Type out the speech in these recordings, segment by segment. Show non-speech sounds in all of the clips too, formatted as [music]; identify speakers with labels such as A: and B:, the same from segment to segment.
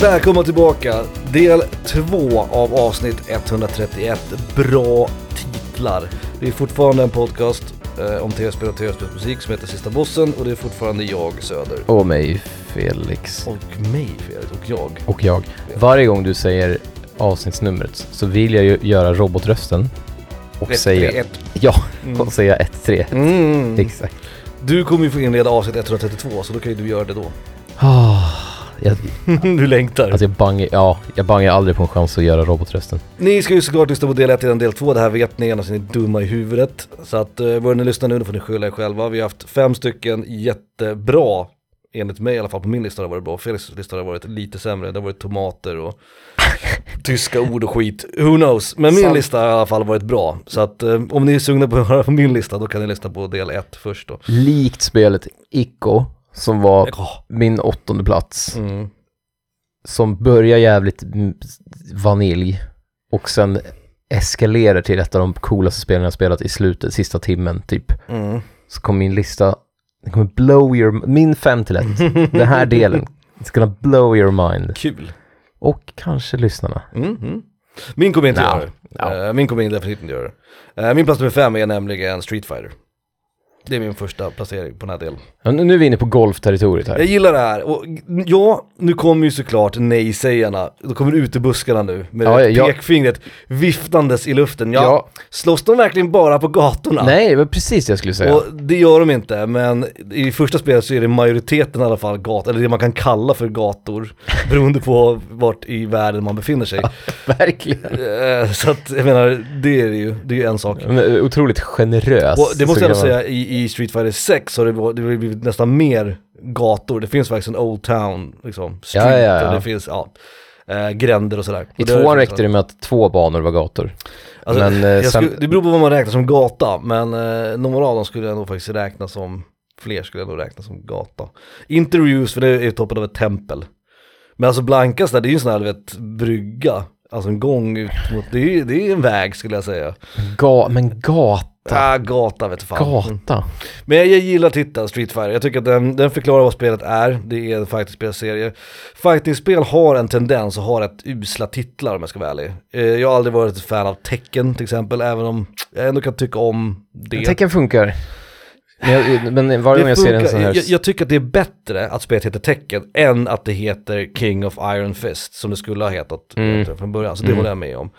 A: Välkomna tillbaka! Del 2 av avsnitt 131. Bra titlar. Det är fortfarande en podcast eh, om tv-spel och tv-spelsmusik som heter Sista Bossen och det är fortfarande jag, Söder.
B: Och mig, Felix.
A: Och mig, Felix, och jag.
B: Och jag. Varje gång du säger avsnittsnumret så vill jag ju göra robotrösten. Och säga...
A: 131.
B: Ja, och säga 1-3.
A: Mm.
B: Exakt.
A: Du kommer ju få inleda avsnitt 132 så då kan ju du göra det då.
B: Ah, jag,
A: du längtar.
B: alltså jag bangar, ja, jag bangar aldrig på en chans att göra robotrösten.
A: Ni ska ju såklart lyssna på del 1 innan del 2, det här vet ni annars är ni dumma i huvudet. Så att eh, vad ni lyssnar nu, då får ni skylla er själva. Vi har haft fem stycken jättebra, enligt mig i alla fall, på min lista har det varit bra. Felix lista har varit lite sämre, det har varit tomater och tyska ord och skit. Who knows? Men min
B: Sant.
A: lista har i alla fall varit bra. Så att eh, om ni är sugna på att höra på min lista, då kan ni lyssna på del 1 först då.
B: Likt spelet Ico, som var
A: Ja.
B: min åttonde plats,
A: Mm.
B: som börjar jävligt mm, vanilj och sen eskalerar till ett av de coolaste spelen jag spelat i slutet, sista timmen typ.
A: Mm.
B: så kommer min lista, den kommer blow your, min 5
A: [laughs]
B: till 1, den här delen, it's gonna blow your mind.
A: Kul.
B: Och kanske lyssnarna.
A: Mhm. Min kommer inte
B: Nja,
A: göra det. Eh, Min kommer definitivt inte göra det. Eh, Min plats nummer fem är nämligen Street Fighter. Det är min första placering på den här delen.
B: Ja, Nu nu är vi inne på golfterritoriet
A: Jag
B: här.
A: gillar det här. Och ja, nu kommer ju såklart nej-sägarna. Då kommer utebuskarna nu med
B: Ja, ja.
A: pekfingret viftandes i luften. Ja,
B: Ja.
A: slåss de verkligen bara på gatorna?
B: Nej, det var precis det jag skulle säga.
A: Och det gör de inte, men i första spelet så är det majoriteten i alla fall gator, eller det man kan kalla för gator, [laughs] beroende på vart i världen man befinner sig.
B: [laughs] Verkligen.
A: Eh, Så att jag menar, det är det ju, det är ju en sak.
B: Men, eh, Otroligt generös.
A: Och det måste
B: så
A: jag ändå
B: kan man-
A: säga, i, i Street Fighter 6 har det, varit- det har blivit nästan mer gator. Det finns faktiskt en Old Town, liksom, street,
B: Ja, ja, ja.
A: och det finns, ja, eh, gränder och sådär.
B: I tvåan räckte det med att två banor var gator.
A: Alltså,
B: men eh,
A: jag
B: sen,
A: skulle, det beror på vad man räknar som gata, men eh, några av dem skulle jag nog faktiskt räkna som, fler skulle jag nog räkna som gata. Inte Reuse, för det är toppen av ett tempel. Men alltså Blankas där, det är ju en sån här, du vet, brygga, alltså en gång ut mot, det är, det är en väg skulle jag säga.
B: ga, men gata,
A: Ah, gata vet du fan.
B: gata.
A: Men jag gillar titeln Street Fighter. Jag tycker att den, den förklarar vad spelet är. Det är en fightingspelserie. Fightingspel har en tendens att ha rätt usla titlar om jag ska vara ärlig. Eh, Jag har aldrig varit ett fan av tecken till exempel, även om jag ändå kan tycka om det.
B: Tecken funkar. Men, jag, men varje gång
A: det
B: jag ser en
A: funkar.
B: sån här...
A: jag, jag tycker att det är bättre att spelet heter tecken än att det heter King of Iron Fist som det skulle ha hetat
B: Mm.
A: egentligen från början. Så det håller jag med om.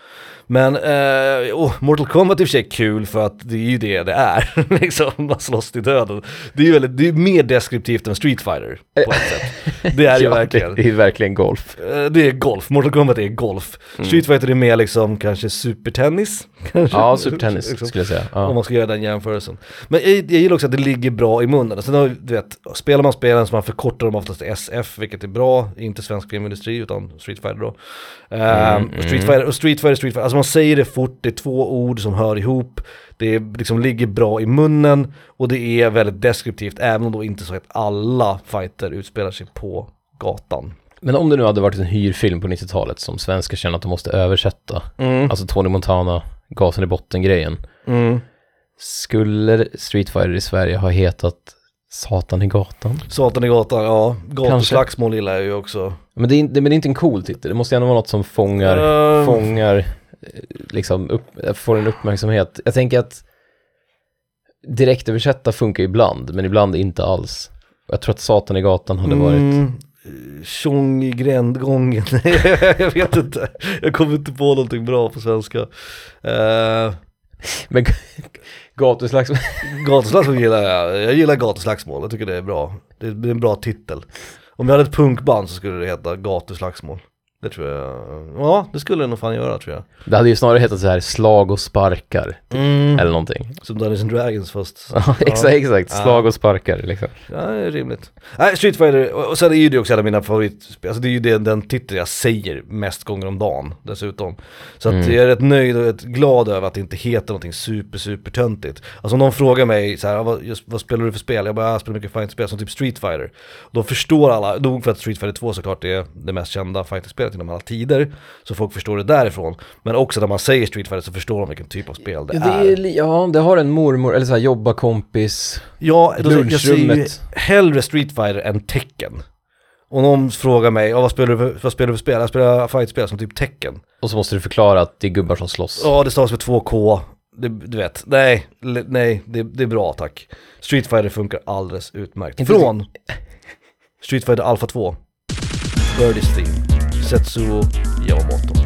A: Men eh, oh, Mortal Kombat i och för sig är kul för att det är ju det det är. [laughs] liksom, man slåss till döden. Det är ju väldigt, det är mer deskriptivt än Street Fighter på ett sätt. Det är det
B: [laughs] Ja,
A: verkligen.
B: Det är verkligen golf.
A: Eh, Det är golf, Mortal Kombat är golf.
B: Mm.
A: Street Fighter är mer liksom kanske supertennis. [laughs] Kanske.
B: Ja, supertennis
A: Liksom.
B: skulle jag säga.
A: Om
B: Ja.
A: man ska göra den jämförelsen. Men jag, jag gillar också att det ligger bra i munnen. Sen har, vi- du vet, spelar man spelen så man förkortar dem oftast till SF, vilket är bra. Inte svensk filmindustri utan Street Fighter då. Ehm, och Street Fighter, och Street Fighter, Street Fighter. Alltså man säger det fort, det är två ord som hör ihop. Det är, liksom ligger bra i munnen och det är väldigt deskriptivt. Även om då inte så att alla fighter utspelar sig på gatan.
B: Men om det nu hade varit en hyrfilm på 90-talet som svenskar känner att de måste översätta, alltså Tony Montana, gasen i botten-grejen, skulle Street Fighter i Sverige ha hetat Satan i gatan?
A: Satan i gatan, ja. Gatuslagsmål gillar jag ju också.
B: Men det är, in- det, men det är inte en cool titel, det måste gärna vara något som fångar,
A: Ehm.
B: fångar, eh, liksom upp, får en uppmärksamhet. Jag tänker att direktöversätta funkar ibland, men ibland inte alls. Jag tror att Satan i gatan hade varit
A: Mm, eh, Tjong i grändgången. [laughs] jag vet inte. Jag kommer inte på någonting bra på svenska. Uh,
B: Men gatuslagsmål,
A: gatuslagsmål gillar jag. Jag gillar gatuslagsmål. Jag tycker det är bra. Det är, det är en bra titel. Om jag hade ett punkband så skulle det heta gatuslagsmål. Det tror jag. Ja, det skulle det nog fan göra tror jag.
B: [laughs] Det hade ju snarare hetat så här slag och sparkar eller någonting.
A: Som Dungeons and Dragons fast.
B: [laughs] Ja, [laughs] exakt, exakt.
A: Ja.
B: Slag och sparkar liksom.
A: Ja, det är rimligt. Nej, Street Fighter, och och sen är ju det också en av mina favoritspel, alltså det är ju den, den titel jag säger mest gånger om dagen dessutom. Så att
B: Mm.
A: jag är rätt nöjd och rätt glad över att det inte heter någonting super, super töntigt. Alltså om någon frågar mig så här, "Ah, vad, just, vad spelar du för spel? Jag bara, "Ah, jag spelar mycket fightingspel som typ Street Fighter. Då förstår alla, nog för att Street Fighter 2 såklart är det mest kända fighting-spelet inom alla tider, så folk förstår det därifrån. Men också när man säger Street Fighter så förstår de vilken typ av spel det,
B: Ja,
A: är.
B: det, är, li- ja, det har en mormor, eller så här jobbarkompis.
A: Ja, då, jag ser ju
B: Lunchrummet.
A: hellre Street Fighter än Tekken. Och någon frågar mig, "Ja, vad spelar du för, vad spelar du för spel? Jag spelar fightspel som typ Tekken.
B: Och så måste du förklara att det är gubbar som slåss.
A: Ja, det stavas med 2K. Det, du vet, nej, le- nej, det, det är bra tack. Street Fighter funkar alldeles utmärkt.
B: Inte
A: Från Street Fighter Alpha 2, Birdie's Theme, Setsuo Yamamoto.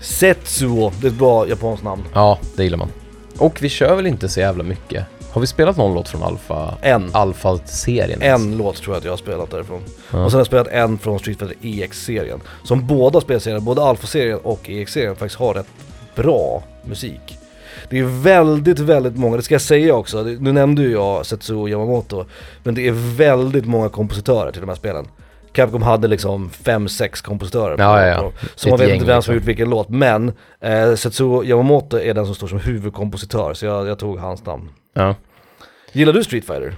A: Setsuo, det är ett bra japanskt namn.
B: Ja, det gillar man. Och vi kör väl inte så jävla mycket. Har vi spelat någon låt från Alfa?
A: En.
B: Alfa-serien? ens?
A: En låt tror jag att jag har spelat därifrån. Och sen har jag spelat en från Street Fighter EX-serien. Som båda spelserierna, både Alpha-serien och EX-serien faktiskt har rätt bra musik. Det är väldigt, väldigt många, det ska jag säga också, det- nu nämnde ju jag Setsuo Yamamoto, men det är väldigt många kompositörer till de här spelen. Capcom hade liksom 5-6 kompositörer. på-
B: Ja, ja, ja.
A: på-
B: Ett
A: Så man vet
B: gäng
A: inte vem som
B: liksom.
A: har gjort vilken låt, men eh, Setsuo Yamamoto är den som står som huvudkompositör, så jag, jag tog hans namn.
B: Ja.
A: Gillar du Street Fighter?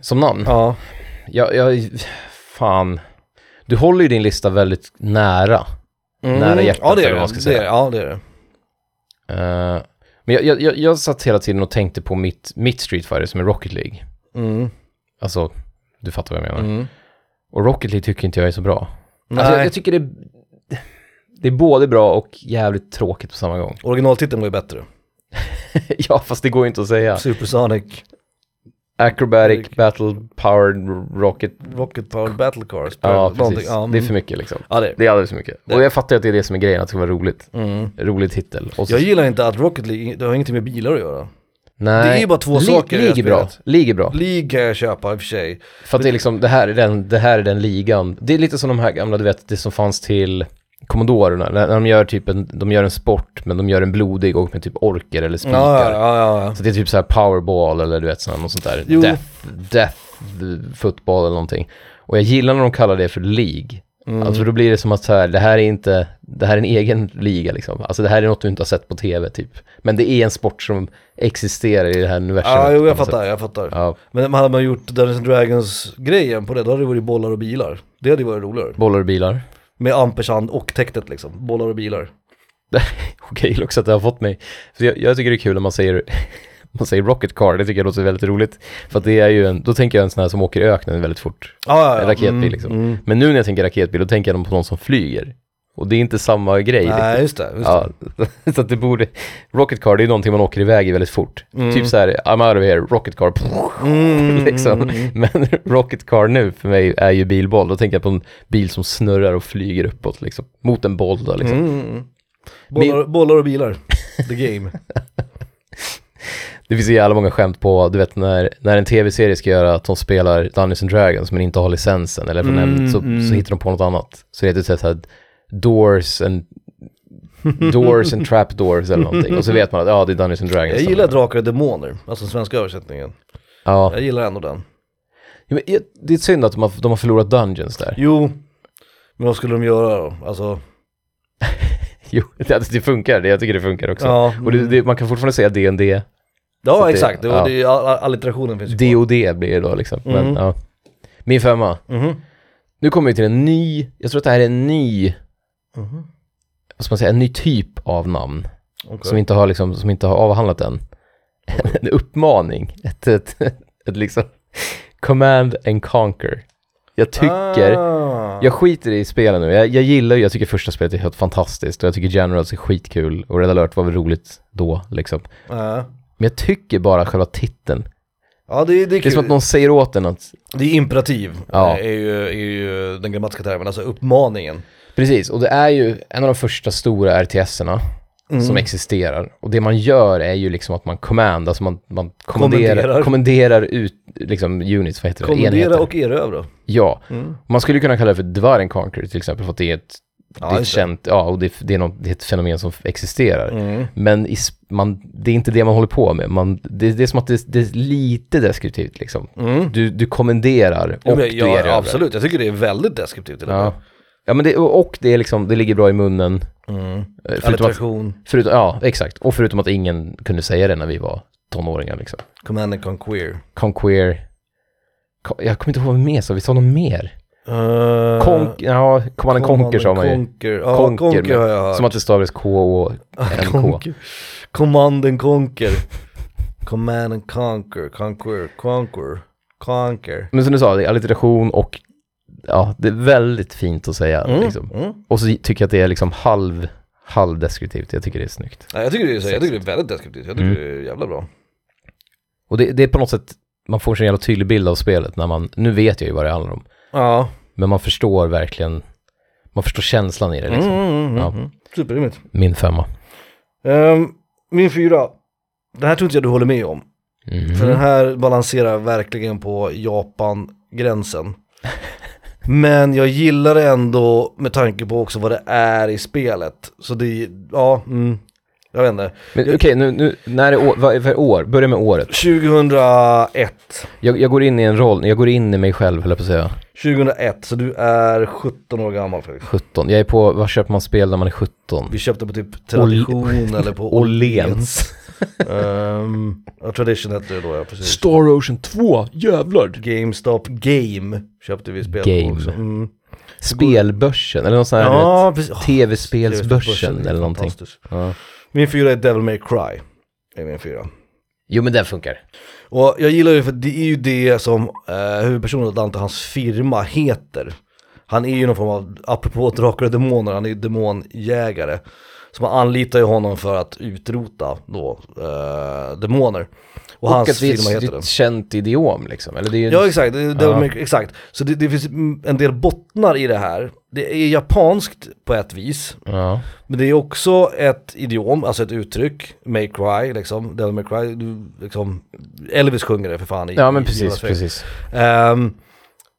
B: Som namn?
A: Ja.
B: Jag, jag, fan. Du håller ju din lista väldigt nära.
A: Mm.
B: Nära hjärtat,
A: ja, det är
B: eller vad
A: det.
B: man ska
A: det,
B: säga.
A: är, det. ja, det är det.
B: Eh, men jag, jag, jag, jag satt hela tiden och tänkte på mitt, mitt Street Fighter som är Rocket League.
A: Mm.
B: Alltså, du fattar vad jag menar.
A: Mm.
B: Och Rocket League tycker inte jag är så bra.
A: Nej,
B: Alltså, jag, jag tycker det, det är både bra och jävligt tråkigt på samma gång.
A: originaltiteln var ju bättre.
B: [laughs] ja, fast det går ju inte att säga.
A: Supersonic
B: Acrobatic, battle, powered, rocket. eh,
A: Rocket Power Battle Cars.
B: Ja,
A: Någonting.
B: precis.
A: Ja,
B: Det är
A: mm.
B: för mycket liksom.
A: ja, det är
B: Det är alldeles för mycket. Och jag fattar ju att det är det som är grejen, att det ska vara roligt.
A: mm.
B: Rolig titel. Och så,
A: Jag gillar inte att Rocket League, det har ingenting med bilar att göra.
B: nej.
A: det är ju bara två
B: Li-
A: saker i det här
B: League är bra.
A: spelet.
B: League är bra.
A: League kan jag köpa i och för sig.
B: För att det är liksom, det här är den, det här är den ligan. Det är lite som de här gamla, du vet, det som fanns till Commodorerna. När när de gör typ en, de gör en sport, men de gör en blodig och med typ orker eller spikar.
A: Ja, ja, ja, ja, ja.
B: Så det är typ så här powerball eller du vet sån här, något sånt där.
A: Jo.
B: Death, death football eller någonting. Och jag gillar när de kallar det för League.
A: Mm.
B: Alltså då blir det som att så här, det här är inte, det här är en egen liga liksom. Alltså det här är något du inte har sett på tv typ. Men det är en sport som existerar i det här universumet.
A: Ja, jo,
B: på
A: jag
B: något sätt.
A: fattar, jag fattar.
B: Ja,
A: Men hade man gjort Dungeons and Dragons-grejen på det, då hade det varit bollar och bilar. Det hade ju varit roligare.
B: bollar och bilar. [laughs]
A: Med ampersand och täktet liksom, bollar och bilar.
B: Okej, okay, också att det har fått mig. För jag, jag tycker det är kul när man säger, [laughs] man säger rocket car, det tycker jag låter väldigt roligt. För att det är ju en, då tänker jag en sån här som åker i öknen väldigt fort.
A: Ja, ja, ja.
B: En raketbil,
A: Mm,
B: liksom.
A: Mm.
B: Men nu när jag tänker raketbil, då tänker jag på någon som flyger. Och det är inte samma grej. liksom.
A: Nej, just det. Just
B: Ja, [laughs] så att det borde... Rocket car, det är någonting man åker iväg i väldigt fort.
A: Mm.
B: Typ så här, I'm out of here, rocket car. [laughs]
A: det. Mm,
B: liksom.
A: mm, mm.
B: Men [laughs] rocket car nu för mig är ju bilboll. Då tänker jag på en bil som snurrar och flyger uppåt liksom. Mot en boll då liksom.
A: Mm, mm. Bollar, bollar och bilar, the game.
B: Det finns ju jävla många skämt på, du vet när, när en tv-serie ska göra att de spelar Dungeons and Dragons men inte har licensen eller
A: Mm,
B: mm, så,
A: mm.
B: så hittar de på något annat. Så det heter det så här Doors and [laughs] Doors and Trapdoors eller någonting. Och så vet man att ja, det är Dungeons and Dragons.
A: Jag gillar Drakar och Demoner, alltså den svenska översättningen.
B: Ja.
A: Jag gillar ändå den.
B: Ja, Men jag- det är synd att de har, de har förlorat Dungeons där. [laughs]
A: Jo, men vad skulle de göra då? Alltså,
B: Jo, det, alltså, det funkar. Det, jag tycker det funkar också.
A: ja, mm.
B: Och det, det, man kan fortfarande säga D&D. så
A: ja
B: det-
A: exakt. Det,
B: ja.
A: ja. Det, all- all- allitterationen finns ju kvar.
B: D&D blir det då liksom. Men,
A: Mm.
B: ja. Min femma.
A: Mhm.
B: Nu kommer vi till en ny, jag tror att det här är en ny,
A: Mhm.
B: vad ska man säga, en ny typ av namn.
A: Okej.
B: Som inte har liksom, som inte har avhandlat än. [laughs] en uppmaning. Ett, ett, ett liksom, command and conquer. Jag tycker,
A: Ah.
B: jag skiter i spelen nu. Jag, jag gillar ju, jag tycker första spelet är helt fantastiskt och jag tycker Generals är skitkul och Red alert var väl roligt då liksom.
A: Ja.
B: Men jag tycker bara själva titeln.
A: Ja, det, det, är
B: Det är som
A: kul.
B: att någon säger åt en att
A: det är imperativ, Eh,
B: Ja.
A: är, ju, är ju den grammatiska termen, alltså uppmaningen.
B: Precis, och det är ju en av de första stora RTS-erna
A: Mm.
B: som existerar. Och det man gör är ju liksom att man command, alltså man, man kommenderar, kommenderar.
A: Kommenderar.
B: ut liksom units, vad heter det?
A: Kommendera
B: Enheter.
A: och erövra.
B: Ja,
A: Mm.
B: man skulle kunna kalla det för Dwaren Conquer till exempel, för att det är ett,
A: Ja,
B: det är ett
A: just det.
B: känt, ja, och det, är- det, är något, det är ett fenomen som existerar.
A: Mm.
B: Men i, sp- man, det är inte det man håller på med, man, det, det är som att det, det är lite deskriptivt liksom.
A: Mm.
B: Du, du kommenderar och
A: Ja, men
B: du
A: ja,
B: erövrar.
A: absolut, jag tycker det är väldigt deskriptivt. till och med.
B: Ja. Ja, men det, och och det är liksom, det ligger bra i munnen.
A: Mm.
B: Eh, Förutom att,
A: Alliteration,
B: förutom, ja, exakt. Och förutom att ingen kunde säga det när vi var tonåringar liksom.
A: command and conquer. Eh,
B: Conquer. Ko- Jag kommer inte ihåg vad mer så vi sa något mer.
A: Uh,
B: Konk, ja, Command and Conquer sa man ju.
A: Conquer, ja,
B: Conquer,
A: conquer,
B: men-
A: har jag hört.
B: Som att det stavades K och NK.
A: Conquer. Command and conquer. command and conquer, conquer, conquer, conquer.
B: Men som du sa, det är alliteration och ja, det är väldigt fint att säga
A: Mm.
B: liksom.
A: Mm.
B: Och så tycker jag att det är liksom halv, halvdeskriptivt. Jag tycker det är snyggt.
A: Nej, jag, tycker det är, så- jag tycker det är väldigt deskriptivt, jag tycker
B: Mm.
A: det är jävla bra.
B: Och det, det är på något sätt, man får en sån jävla tydlig bild av spelet när man, nu vet jag ju vad det handlar om.
A: Ja,
B: Men man förstår verkligen, man förstår känslan i det liksom.
A: mm, mm, mm,
B: Ja.
A: mm. superrimligt.
B: Min femma.
A: Ehm, min fyra, det här tror inte jag du håller med om.
B: Mhm.
A: För den här balanserar verkligen på Japan-gränsen. Men jag gillar det ändå med tanke på också vad det är i spelet. Så det, ja, mm, jag vet inte.
B: Men okej, nu, nu, när är år, vad är för år? Börja med året.
A: 2001.
B: Jag, jag går in i en roll, jag går in i mig själv höll jag på att säga.
A: 2001, så du är 17 år gammal Fredrik.
B: 17. Jag är på, vad köper man spel när man är 17?
A: Vi köpte på typ Tradition eller på
B: [laughs] Åhléns.
A: Ehm, ja, Tradition hette det då, ja precis.
B: Star Ocean 2, jävlar!
A: GameStop Game köpte vi spel
B: Game.
A: på också. Mm.
B: Spelbörsen, eller någon sån här
A: Ja,
B: du
A: precis.
B: vet,
A: Börsen,
B: tv-spelsbörsen
A: det är
B: eller någonting.
A: fantastiskt.
B: Ja.
A: Min fyra är Devil May Cry. Är min fyra.
B: Jo men den funkar.
A: Och jag gillar det för det är ju det som eh, huvudpersonen Dante, hans firma, heter. Han är ju någon form av, apropå drakar och demoner, han är ju demonjägare. Så man anlitar ju honom för att utrota då eh, demoner. Och,
B: Och
A: hans
B: att det
A: firma
B: är ett,
A: heter
B: det är
A: det.
B: ett känt idiom liksom. Eller det är ju en-
A: Ja exakt, det är Devil
B: Ja.
A: May Cry, exakt. Så det, det finns mm, en del bottnar i det här. Det är japanskt på ett vis,
B: ja.
A: men det är också ett idiom, alltså ett uttryck, May Cry liksom, Devil May Cry, du, liksom, Elvis sjunger det för fan i
B: ja, men
A: i
B: precis,
A: Jonas Fredrik.
B: precis.
A: Ehm,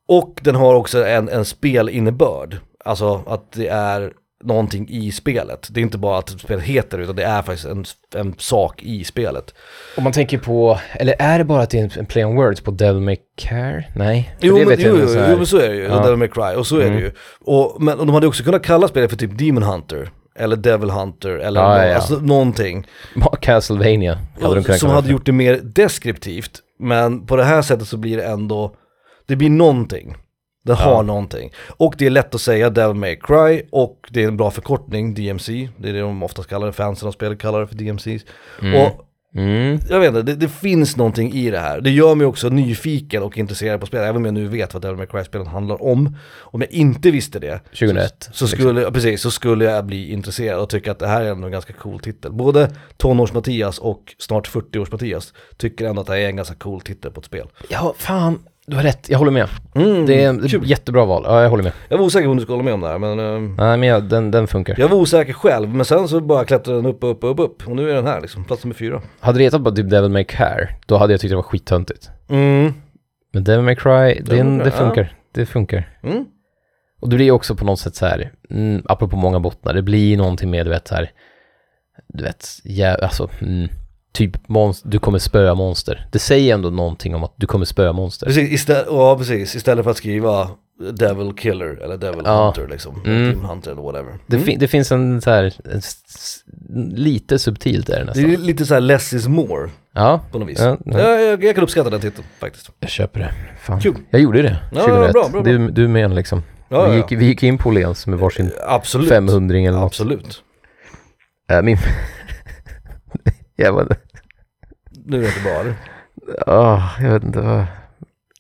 A: och den har också en, en spelinnebörd, alltså att det är någonting i spelet. Det är inte bara att spelet heter utan det är faktiskt en, en sak i spelet.
B: Om man tänker på, eller är det bara att det är en- en play on words på Devil May Care? Nej, För
A: Jo,
B: det
A: men, jo, jo,
B: jag inte så här-
A: jo men så är det ju,
B: Ja.
A: Devil May Cry, och så är
B: Mm.
A: det ju. Och, men och de hade också kunnat kalla spelet för typ Demon Hunter, eller Devil Hunter, eller
B: Ja,
A: nå-
B: ja, ja.
A: Alltså, någonting.
B: Ja, Castlevania hade de kunnat
A: som
B: kalla
A: hade
B: det.
A: gjort det mer deskriptivt, men på det här sättet så blir det ändå, det blir någonting. Det har någonting. Och det är lätt att säga Devil May Cry och det är en bra förkortning, DMC. Det är det de oftast kallar det, fansen av spelet kallar det för DMC.
B: Mm.
A: Och
B: Mm.
A: jag vet inte, det, det finns någonting i det här. Det gör mig också nyfiken och intresserad på spelet, även om jag nu vet vad Devil May Cry-spelen handlar om. Om jag inte visste det,
B: 2001.
A: så skulle, ja, precis, så skulle jag bli intresserad och tycka att det här är ändå en ganska cool titel. Både tonårs-Mattias och snart 40-års-Mattias tycker ändå att det här är en ganska cool titel på ett spel.
B: Ja, fan. Du har rätt, jag håller med.
A: Mm.
B: det är ett jättebra val. Ja, jag håller med.
A: Jag var osäker på om du skulle hålla med om det här, men eh,
B: Nej, men jag, den, den funkar.
A: jag var osäker själv. Men sen så bara klättrade den upp, upp, upp, upp. Och nu är den här liksom, plats nummer fyra.
B: Hade det hetat bara typ Devil May Cry, då hade jag tyckt det var skittöntigt.
A: Mm.
B: Men Devil May Cry, den,
A: May
B: det
A: Cry,
B: funkar. Det funkar.
A: Mm.
B: Och det blir också på något sätt så här, mm, apropå många bottnar, det blir någonting med du vet så här, du vet, jä- alltså, mm, typ monster, du kommer spöa monster. Det säger ändå någonting om att du kommer spöa monster.
A: Precis, istä- ja, precis, istället för att skriva Devil Killer eller Devil
B: Ja.
A: Hunter liksom.
B: Mm.
A: Team Hunter eller whatever.
B: Det, fin- det finns en så här, en s- s- lite subtilt är det
A: Det
B: nästan.
A: är lite så här less is more
B: Ja,
A: på något vis.
B: ja, ja.
A: Jag, jag, jag kan uppskatta den titeln faktiskt.
B: Jag köper det. Fan.
A: Kul.
B: Jag gjorde det
A: Ja,
B: 2001.
A: bra, bra, bra.
B: Du, du med liksom.
A: Ja,
B: vi,
A: ja,
B: gick, vi gick in på Åhléns med varsin
A: Absolut.
B: 500 eller något.
A: Absolut.
B: Äh, min... [laughs] jag, vet,
A: Nu är det inte bara.
B: Ah, jag vet inte, vad,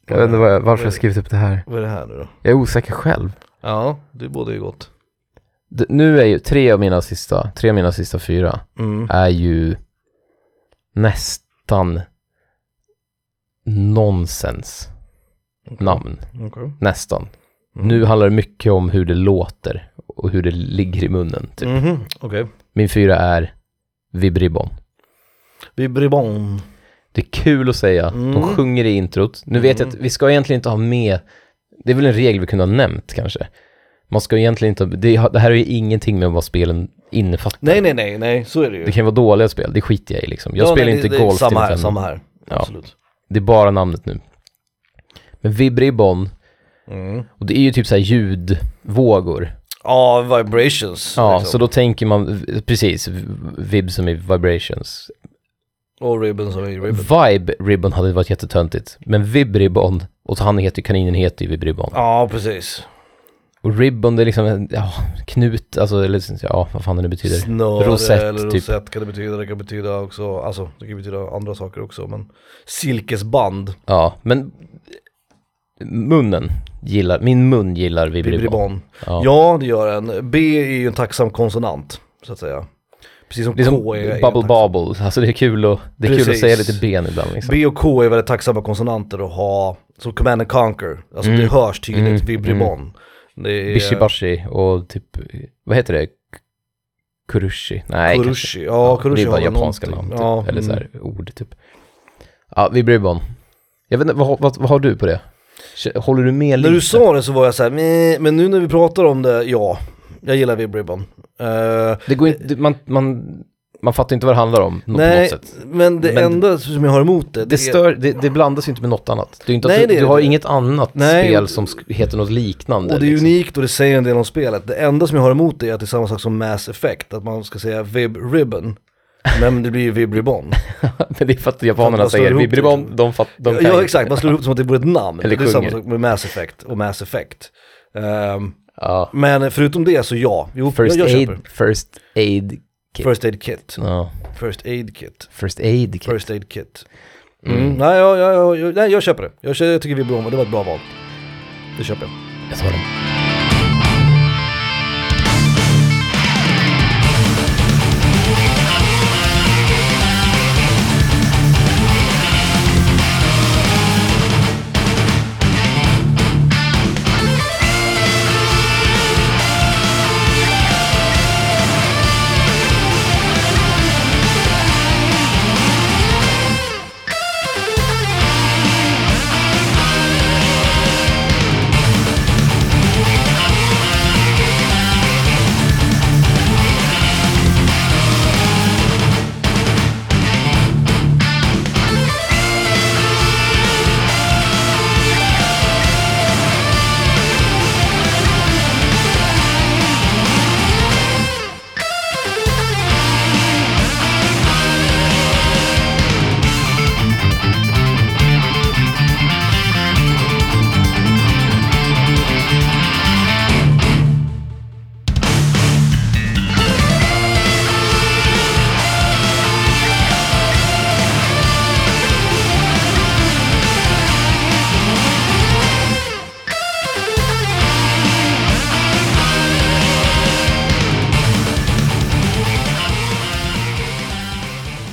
B: jag vet inte vad, jag- varför jag skrivit upp det här.
A: Vad är det här nu då?
B: Jag är osäker själv.
A: Ja, det borde ju gott.
B: D- nu är ju tre av mina sista, tre av mina sista fyra
A: Mm.
B: är ju nästan nonsens namn.
A: Okej.
B: Nästan.
A: Mm.
B: Nu handlar det mycket om hur det låter och hur det ligger i munnen. Typ.
A: Mhm, Okej.
B: Min fyra är Vibribom.
A: Vibribon.
B: Det är kul att säga. De
A: Mm.
B: sjunger i introt. Nu vet jag att vi ska egentligen inte ha med, det är väl en regel vi kunde ha nämnt kanske. Man ska egentligen inte, det, har- det här är ju ingenting med vad spelen innefattar.
A: Nej, nej, nej, nej, så är det ju.
B: Det kan ju vara dåliga spel, det skiter jag i liksom. Jag
A: Ja,
B: spelar
A: nej,
B: inte
A: det,
B: golf
A: det, Samma
B: till
A: här,
B: exempel.
A: samma här.
B: Ja.
A: Absolut.
B: Det är bara namnet nu. Men Vibribon,
A: Mm.
B: och det är ju typ så här ljudvågor.
A: Ja, vibrations.
B: Ja,
A: liksom.
B: så då tänker man, precis, vib som i vibrations.
A: Och ribbon som är ribbon.
B: Vibe Ribbon hade varit jättetöntigt, men Vib Ribbon, och han heter, ju- kaninen heter ju Vib Ribbon.
A: Ja, precis.
B: Och Ribbon, det är liksom en ja, knut, alltså, eller så- ja, vad fan det nu betyder.
A: Snöre
B: Rosett,
A: eller
B: typ.
A: rosett kan det betyda. Det kan betyda också, alltså det kan betyda andra saker också. Men silkesband,
B: Ja, men munnen gillar, min mun gillar Vib Ribbon.
A: vibribon.
B: Ja.
A: Ja, det gör en. B är ju en tacksam konsonant, så att säga. Precis som
B: Det är som
A: K är är
B: Bubble
A: tacksam.
B: Bobble, alltså det är kul att, det är kul att
A: Precis.
B: säga lite ben ibland liksom.
A: B och K är väldigt tacksamma konsonanter att ha, som Command and Conquer. Alltså det hörs tydligt,
B: Mm.
A: vibribon. Det är
B: Bishibashi och typ, vad heter det? Kurushi? Nej, kanske-
A: Kurushi. Ja,
B: det
A: Kurushi
B: är bara
A: har väl
B: japanska namn,
A: någonting. Ja,
B: typ. eller så
A: mm.
B: här ord, typ. Ja, vi bryr bon. Jag vet inte, vad, vad, vad har du på det? K- Håller du med
A: När
B: lite?
A: du sa det så var jag så här, "Meh", men nu när vi pratar om det, ja. Jag gillar vibribon. Eh,
B: det går inte, det- man, man, man fattar inte vad det handlar om nå-
A: nej,
B: på något sätt.
A: men det
B: Men-
A: enda som jag har emot det,
B: Det,
A: det är...
B: stör, det, det blandas ju inte med något annat. Det är ju inte
A: Nej,
B: att du,
A: det är
B: du har
A: det.
B: inget annat
A: Nej,
B: spel
A: och-
B: som sk- heter något liknande.
A: Och det är
B: liksom.
A: unikt och det säger en del om spelet. Det enda som jag har emot det är att det är samma sak som Mass Effect, att man ska säga Vib Ribbon. Men det blir ju Vib Ribbon.
B: [laughs] Men det är för att
A: För att
B: japanerna
A: man slår
B: säger
A: ihop det,
B: vibribon,
A: liksom.
B: de, fatt, de
A: ja,
B: kan
A: ja
B: inte.
A: exakt, man slår ihop det som att det vore ett namn.
B: Eller
A: det är samma
B: sjunger.
A: sak med Mass Effect och Mass Effect. Ehm,
B: Ja.
A: men förutom det så ja, jo,
B: First,
A: jag, jag
B: aid,
A: köper.
B: first aid, kit.
A: First Aid Kit.
B: ja.
A: First Aid Kit.
B: First aid kit.
A: First Aid Kit. Mm. Nej, jag, jag, jag, jag, nej, jag köper det. Jag, kö- jag tycker vi är bra, det var ett bra val. Det köper jag.
B: Jag tar den.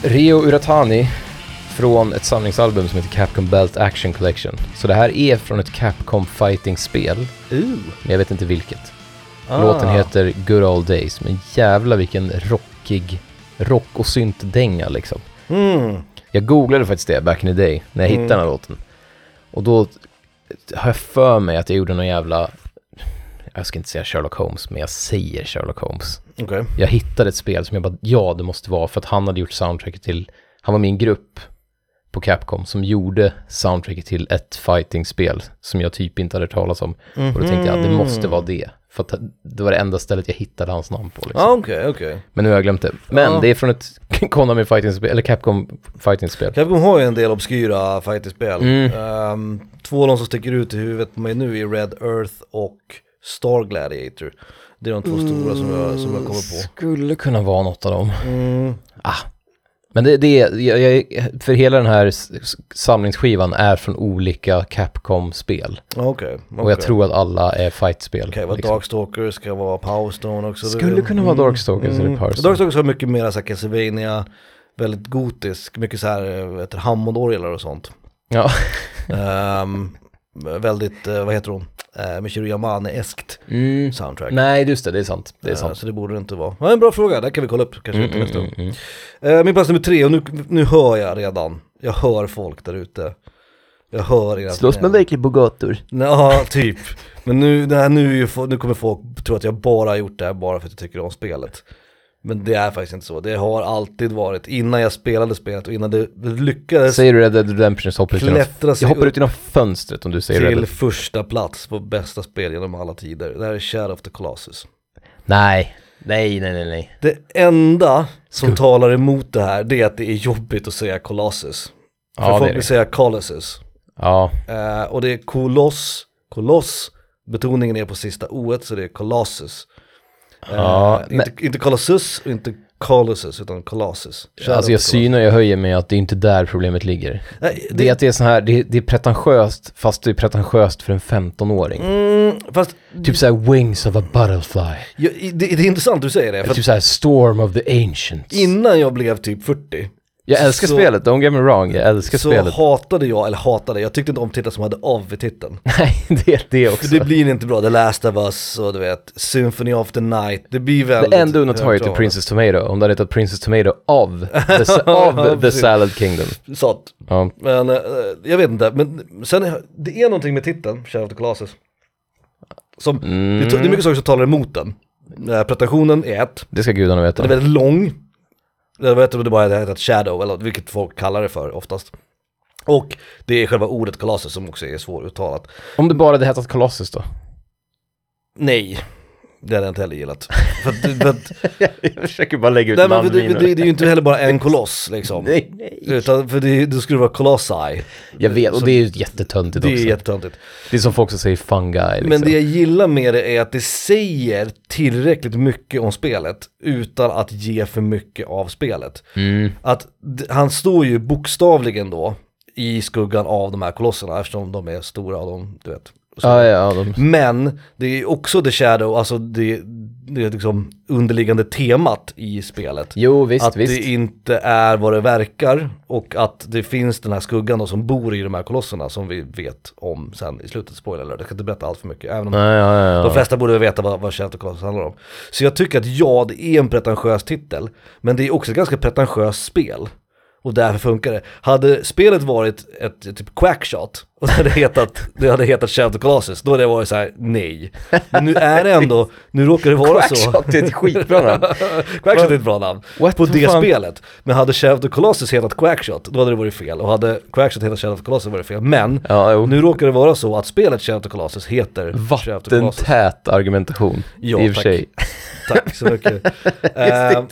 B: Rio Uratani från ett samlingsalbum som heter Capcom Belt Action Collection. Så det här är från ett Capcom Fighting-spel,
A: Ooh.
B: men jag vet inte vilket.
A: Ah.
B: Låten heter Good Old Days, men jävla vilken rockig rock och syntdänga liksom.
A: Mm.
B: Jag googlade faktiskt det back in the day när jag
A: Mm.
B: hittade den här låten. Och då har jag för mig att jag gjorde någon jävla, jag ska inte säga Sherlock Holmes, men jag säger Sherlock Holmes.
A: Okej.
B: Jag hittade ett spel som jag bara, ja det måste vara, för att han hade gjort soundtracket till, han var min grupp på Capcom som gjorde soundtracket till ett fighting-spel som jag typ inte hade hört talas om. Och då tänkte jag,
A: Mhm.
B: det måste vara det. För att det var det enda stället jag hittade hans namn på. Liksom.
A: Ja, Ah, okej, okej.
B: Men nu har jag glömt det. Men
A: Ja.
B: det är från ett [laughs] Konami fighting-spel, eller Capcom fighting-spel.
A: Capcom har ju en del obskyra fighterspel.
B: Mm.
A: Ehm, två av de som sticker ut i huvudet på mig nu är Red Earth och Star Gladiator. Det är de två stora som jag, som jag kommer på.
B: Skulle kunna vara något av dem.
A: Mm.
B: Men det, det är, jag, jag, för hela den här s- s- samlingsskivan är från olika Capcom-spel.
A: Okej,
B: Och jag
A: okej.
B: tror att alla är fight-spel.
A: Okej, vad
B: liksom.
A: Darkstalkers ska vara Powerstone också. mm.
B: Skulle kunna vara Darkstalkers eller Power Stone.
A: Darkstalkers har mycket mer såhär Castlevania, väldigt gotisk, mycket såhär, vad heter det, Hammondorglar och sånt.
B: Ja.
A: Ehm, väldigt, eh, vad heter hon, uh, Michiru Yamane-eskt
B: Mm.
A: soundtrack.
B: Nej, just det, det är sant. Det är sant.
A: Eh, Så det borde det inte vara. Ja, en bra fråga, det kan vi kolla upp kanske
B: Mm,
A: till
B: mm,
A: nästa gång.
B: mm, mm.
A: Eh, Min plats nummer tre, och nu, nu hör jag redan. Jag hör folk där ute. Jag hör era...
B: verkligen på gator?
A: Ja, typ. Men nu, det här, nu, är ju fo- nu kommer folk tro att jag bara har gjort det här bara för att jag tycker om spelet. Men det är faktiskt inte så. Det har alltid varit, innan jag spelade spelet och innan det lyckades
B: Säger du Red Dead Redemption så hoppar du ut genom,
A: klättra sig
B: jag hoppar
A: upp
B: ut genom fönstret om du säger Red
A: till
B: Dead.
A: första plats på bästa spel genom alla tider. Det här är Shadow of the Colossus.
B: Nej, nej, nej, nej, nej.
A: Det enda som
B: Sku-
A: talar emot det här, det är att det är jobbigt att säga Colossus. För
B: Ja, det
A: folk
B: är
A: vill
B: det.
A: säga Colossus.
B: Ja,
A: Eh, och det är koloss, koloss, betoningen är på sista oet så det är kolossus. Eh,
B: Ja,
A: inte, inte kolossus och inte kolossus utan kolossus.
B: alltså jag synar, jag höjer mig att det är inte där problemet ligger.
A: Nej,
B: Det är att det är så här, det, det är pretentiöst, fast det är pretentiöst för en 15-åring.
A: mm, fast
B: Typ så här Wings of a Butterfly.
A: jag, det, det är intressant du säger det. För
B: Eller
A: att
B: typ så här Storm of the Ancients.
A: innan jag blev typ 40
B: jag älskar
A: så-
B: spelet, don't get me wrong, jag älskar
A: så
B: spelet.
A: hatade jag, eller hatade, jag tyckte inte om titlar som hade av i titeln.
B: Nej, [laughs] det är det också.
A: För det blir inte bra, The Last of Us och du vet, Symphony of the Night, det blir väldigt
B: Det enda undantaget är
A: högtravande.
B: Princess Tomato, om det hade hetat Princess Tomato
A: [laughs]
B: av the,
A: Ja,
B: of the
A: precis.
B: Salad Kingdom.
A: Sånt.
B: Ja,
A: Men eh, jag vet inte, men sen är, det är någonting med titeln, Shadow of the Colossus. Som, det, är to- det är mycket saker som talar emot den. Eh, Pretensionen är ett,
B: det ska gudarna veta.
A: den är väldigt lång. Jag vet inte om det bara heter Shadow, eller vilket folk kallar det för oftast. Och det är själva ordet Colossus som också är svåruttalat.
B: Om det bara hade hetat
A: [laughs]
B: Colossus då?
A: Nej, det hade jag inte heller gillat. för att, för
B: [laughs]
A: att,
B: jag försöker bara lägga ut
A: nej, men för det, [laughs] det, det är ju inte heller bara en koloss liksom.
B: Nej, nej.
A: Utan för det, det skulle vara Colossi.
B: Jag vet, och det är ju jättetöntigt
A: Det
B: också.
A: är jättetöntigt.
B: Det är som folk som säger fungi liksom.
A: Men det jag gillar med det är att det säger tillräckligt mycket om spelet utan att ge för mycket av spelet.
B: mm.
A: Att d- han står ju bokstavligen då i skuggan av de här kolosserna eftersom de är stora och de, du vet. och så.
B: Ja, ja, ja, de...
A: Men det är också the shadow, alltså det, det är liksom underliggande temat i spelet.
B: Jo, visst,
A: att
B: visst.
A: det inte är vad det verkar och att det finns den här skuggan då som bor i de här kolosserna som vi vet om sen i slutet. Spoiler alert, jag ska inte berätta allt för mycket. Även om
B: Nej, ja, ja, ja.
A: de flesta borde veta vad, vad Shadow of the Colossus handlar om. Så jag tycker att ja, det är en pretentiös titel, men det är också ett ganska pretentiöst spel. Och därför funkar det. Hade spelet varit ett, ett typ quackshot [laughs] och det hade hetat, det hade hetat Shadow of the Colossus, då hade det varit så här: nej. Men nu är det ändå, nu råkar det vara så.
B: Quackshot det är ett skitbra namn.
A: [laughs] Quackshot är ett bra namn.
B: What
A: På
B: the
A: det
B: fan?
A: spelet. Men hade Shadow of the Colossus hetat Quackshot, då hade det varit fel. Och hade Quackshot hetat Shadow of the Colossus var det fel. Men
B: Ja, jo.
A: nu råkar det vara så att spelet Shadow of the Colossus heter Shadow of the Colossus.
B: Vattentät argumentation.
A: Ja,
B: I och för
A: tack. [laughs]
B: sig.
A: Tack så
B: [laughs]
A: mycket. Eh,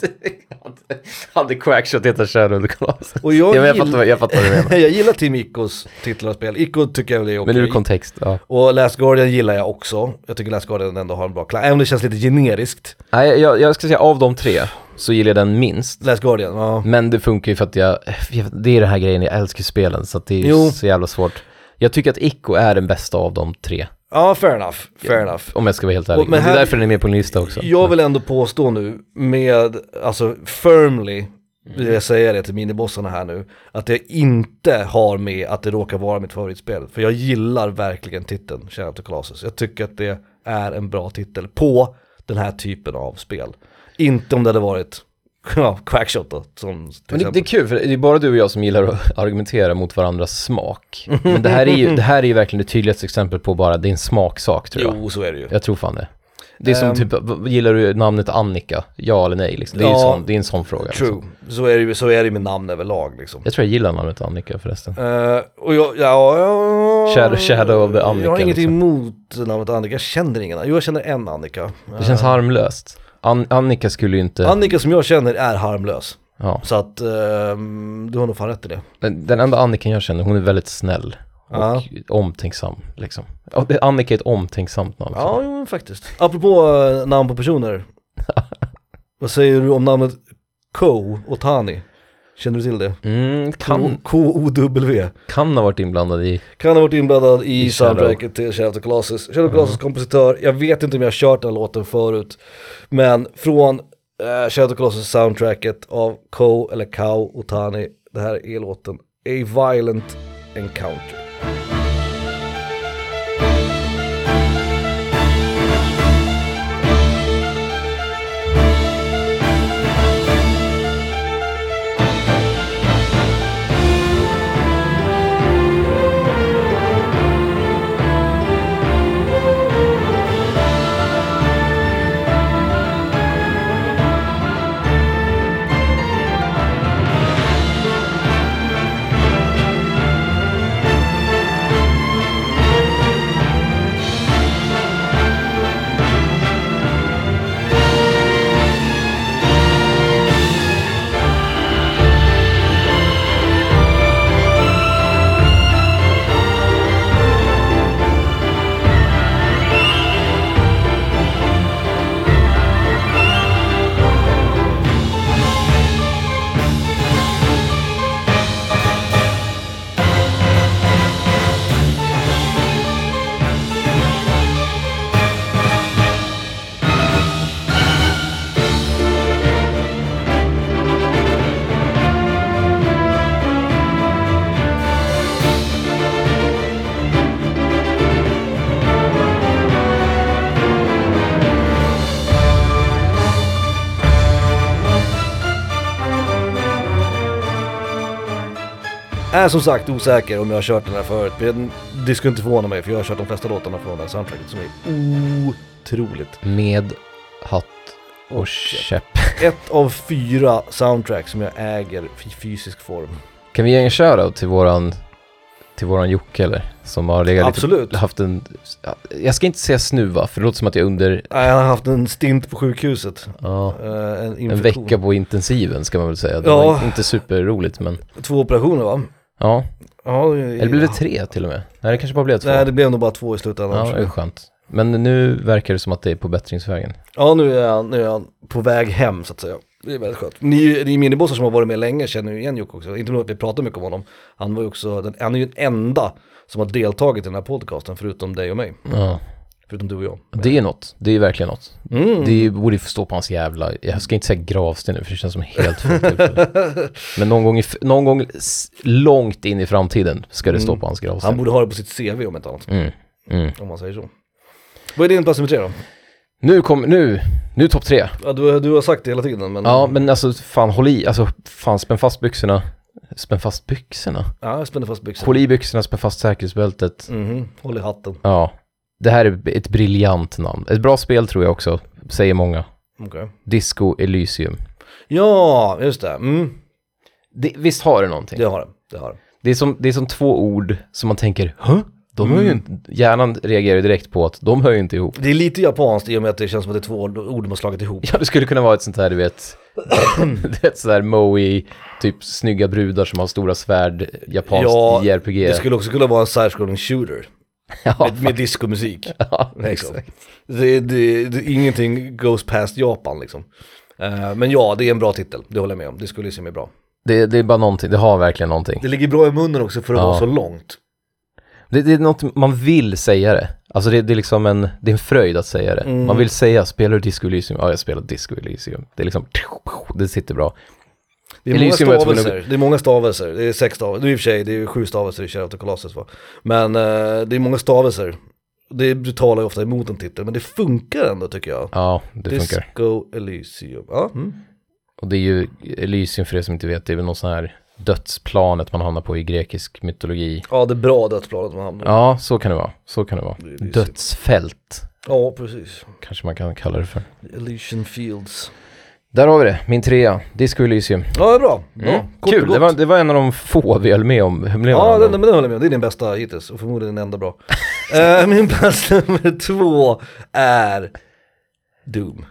B: Hade Quackshot hetat Shadow of the Colossus?
A: och jag,
B: ja, men jag,
A: gill-
B: fattar, vad- jag fattar vad du
A: [laughs]
B: menar.
A: jag gillar Team Icos titlar och spel. Ico tycker jag väl är okej.
B: [laughs] Men ur kontext, ja.
A: och Last Guardian gillar jag också. Jag tycker Last Guardian ändå har en bra klang. Även om det känns lite generiskt.
B: Nej, jag, jag ska säga av de tre så gillar jag den minst.
A: Last Guardian, ja.
B: Men det funkar ju för att jag, jag- det är den här grejen, jag älskar spelen så att det är ju
A: Jo.
B: så jävla svårt. Jag tycker att Ico är den bästa av de tre,
A: Ja, fair enough. Fair enough.
B: om jag ska vara helt ärlig.
A: Och-
B: men
A: men
B: det är
A: här-
B: därför den är med på en lista också.
A: Jag vill ändå påstå nu med, alltså firmly, vill jag säga det till minibossarna här nu, att jag inte har med att det råkar vara mitt favoritspel. För jag gillar verkligen titeln Shadow of the Colossus. Jag tycker att det är en bra titel på den här typen av spel. Inte om det hade varit ja, Quackshot då, som till
B: Men det, det är
A: exempel.
B: kul, för det är bara du och jag som gillar att [laughs] argumentera mot varandras [laughs] smak. Men det här är ju, det här är ju verkligen det tydligaste exempel på bara, det är en smaksak tror jag.
A: Jo, så är det ju.
B: Jag tror fan det. Det är som
A: Ehm.
B: typ, v- gillar du namnet Annika? Ja eller nej? Liksom. Det, är ju
A: Ja.
B: sån, det är en sån fråga.
A: True,
B: Liksom.
A: så är det ju så är det ju med namn överlag liksom.
B: Jag tror jag gillar namnet Annika förresten.
A: Eh, och jag, ja, ja,
B: Shadow- Shadow of the Annika,
A: Jag har inget
B: liksom.
A: emot namnet Annika, jag känner ingen. Jo, jag känner en Annika.
B: Det känns harmlöst. An- Annika skulle ju inte...
A: Annika som jag känner är harmlös.
B: ja.
A: Så att ehm, du har nog fan rätt i det.
B: Den den enda Annikan jag känner, hon är väldigt snäll. Och
A: Ja.
B: omtänksam liksom. Ja, det- Annika är ett omtänksamt namn. för
A: Ja, jo, men faktiskt. Apropå eh, namn på
B: [laughs]
A: personer. vad säger du om namnet Ko och Tani? Känner du till det?
B: mig. Mm, kan,
A: K-O-W.
B: kan ha varit inblandad i...
A: Kan ha varit inblandad i,
B: I Shadow. Mm.
A: soundtracket till Shadow of the Colossus. Shadow of the Colossus kompositör, jag vet inte om jag har kört den här låten förut, men från eh, Shadow of the Colossus soundtracket av Ko eller Kao Otani, det här är låten A Violent Encounter. Är som sagt osäker om jag har kört den här förut, men det skulle inte förvåna mig för jag har kört de flesta låtarna från det här soundtracket som är otroligt.
B: Med hatt och käpp.
A: Ett av fyra soundtrack som jag äger i fysisk form.
B: Kan vi ge en shoutout till våran, till våran Jocke eller? Som har legat lite
A: Absolut.
B: haft en, jag ska inte säga snuva, för det låter som att jag under
A: Nej, Han har haft en stint på sjukhuset.
B: ja,
A: Eh, en,
B: en
A: infektion.
B: vecka på intensiven ska man väl säga. Det
A: Ja.
B: var in- inte superroligt men
A: Två operationer va?
B: ja,
A: Ja,
B: eller blev det tre till och med? Nej det kanske bara blev två.
A: Nej, det blev nog bara två i slutändan.
B: ja, det är
A: Ja,
B: skönt. Men nu verkar det som att det är på bättringsvägen.
A: nu, är han, nu är han på väg hem så att säga. Det är väldigt skönt. Ni, ni minibossar som har varit med länge känner ju igen Jocke också. Inte nog att vi pratar mycket om honom. Han, var ju också den, han är ju den enda som har deltagit i den här podcasten förutom dig och mig.
B: Ja.
A: Förutom du och jag.
B: Det är något, det är verkligen något.
A: Mm.
B: Det borde ju få stå på hans jävla, jag ska inte säga gravsten nu för det känns som helt fel tillfälle.
A: [laughs]
B: Men någon gång, i, f- någon gång s- långt in i framtiden ska det stå på hans
A: Mm. Han
B: gravsten.
A: borde ha det på sitt CV om inte annat.
B: Mm, mm.
A: Om man säger så. Vad är din plats nummer tre då?
B: Nu kom, nu, nu topp tre.
A: Ja, du, du har sagt det hela tiden men...
B: Ja men alltså fan håll i, alltså fan spänn fast byxorna. Spänn fast byxorna?
A: ja jag spänner fast byxorna.
B: Håll i byxorna, spänn fast säkerhetsbältet.
A: Mhm, Håll i hatten.
B: Ja. Det här är ett briljant namn. Ett bra spel tror jag också, säger många.
A: Okej.
B: Disco Elysium.
A: Ja, just det. Mm.
B: Det, visst har det någonting?
A: Det har det. det, har det.
B: Det är, som, det är som två ord som man tänker, hö? De hör ju inte, hjärnan reagerar ju direkt på att de hör ju inte ihop. [laughs]
A: Det är lite japanskt i och med att det känns som att det är två ord ord de har slagit ihop.
B: Ja, det skulle kunna vara ett sånt här, du [coughs] vet, ett sånt här Moe, typ snygga brudar som har stora svärd, japanskt
A: Ja,
B: JRPG.
A: Det skulle också kunna vara en side-scrolling shooter
B: ja,
A: med, med discomusik.
B: [laughs] ja,
A: Liksom. Det, det, det, ingenting goes past Japan liksom. Eh, men ja, det är en bra titel, det håller jag med om. Det skulle se mig bra.
B: det, det är bara någonting, det har verkligen någonting.
A: Det ligger bra i munnen också för att
B: Ja.
A: vara så långt.
B: Det, det är något man vill säga det. Alltså det, det är liksom en, det är en fröjd att säga det. Man vill säga, spelar du Disco Elysium? Ja, jag spelar Disco Elysium. Det är liksom, det sitter bra.
A: Det är, många
B: Elysium var jag tvungen att-
A: stavelser, det är många stavelser, det är sex stavelser, i och för sig det är ju sju stavelser i Shadow of the Colossus va. Men eh, det är många stavelser, det, du talar ju ofta emot en titel, men det funkar ändå tycker jag.
B: Ja, det funkar.
A: Disco Elysium, ja. Mm.
B: Och det är ju Elysium för er som inte vet, det är väl någon sån här dödsplanet man hamnar på i grekisk mytologi.
A: Ja det är bra dödsplanet man hamnar i.
B: Ja, så kan det vara. Så kan det vara.
A: Det är Elysium.
B: Dödsfält
A: Ja precis.
B: kanske man kan kalla det för.
A: Elysian Fields.
B: Där har vi det, min trea, Disco Elysium.
A: Ja det är bra, bra.
B: Mm.
A: Kort och
B: Kul,
A: gott.
B: det var, det var en av de få vi höll med om. Höll med
A: Ja,
B: varandra
A: den,
B: om.
A: men den håller jag med om. Det är din bästa hittills och förmodligen den enda
B: [laughs]
A: bra. Eh, min plats nummer två är Doom.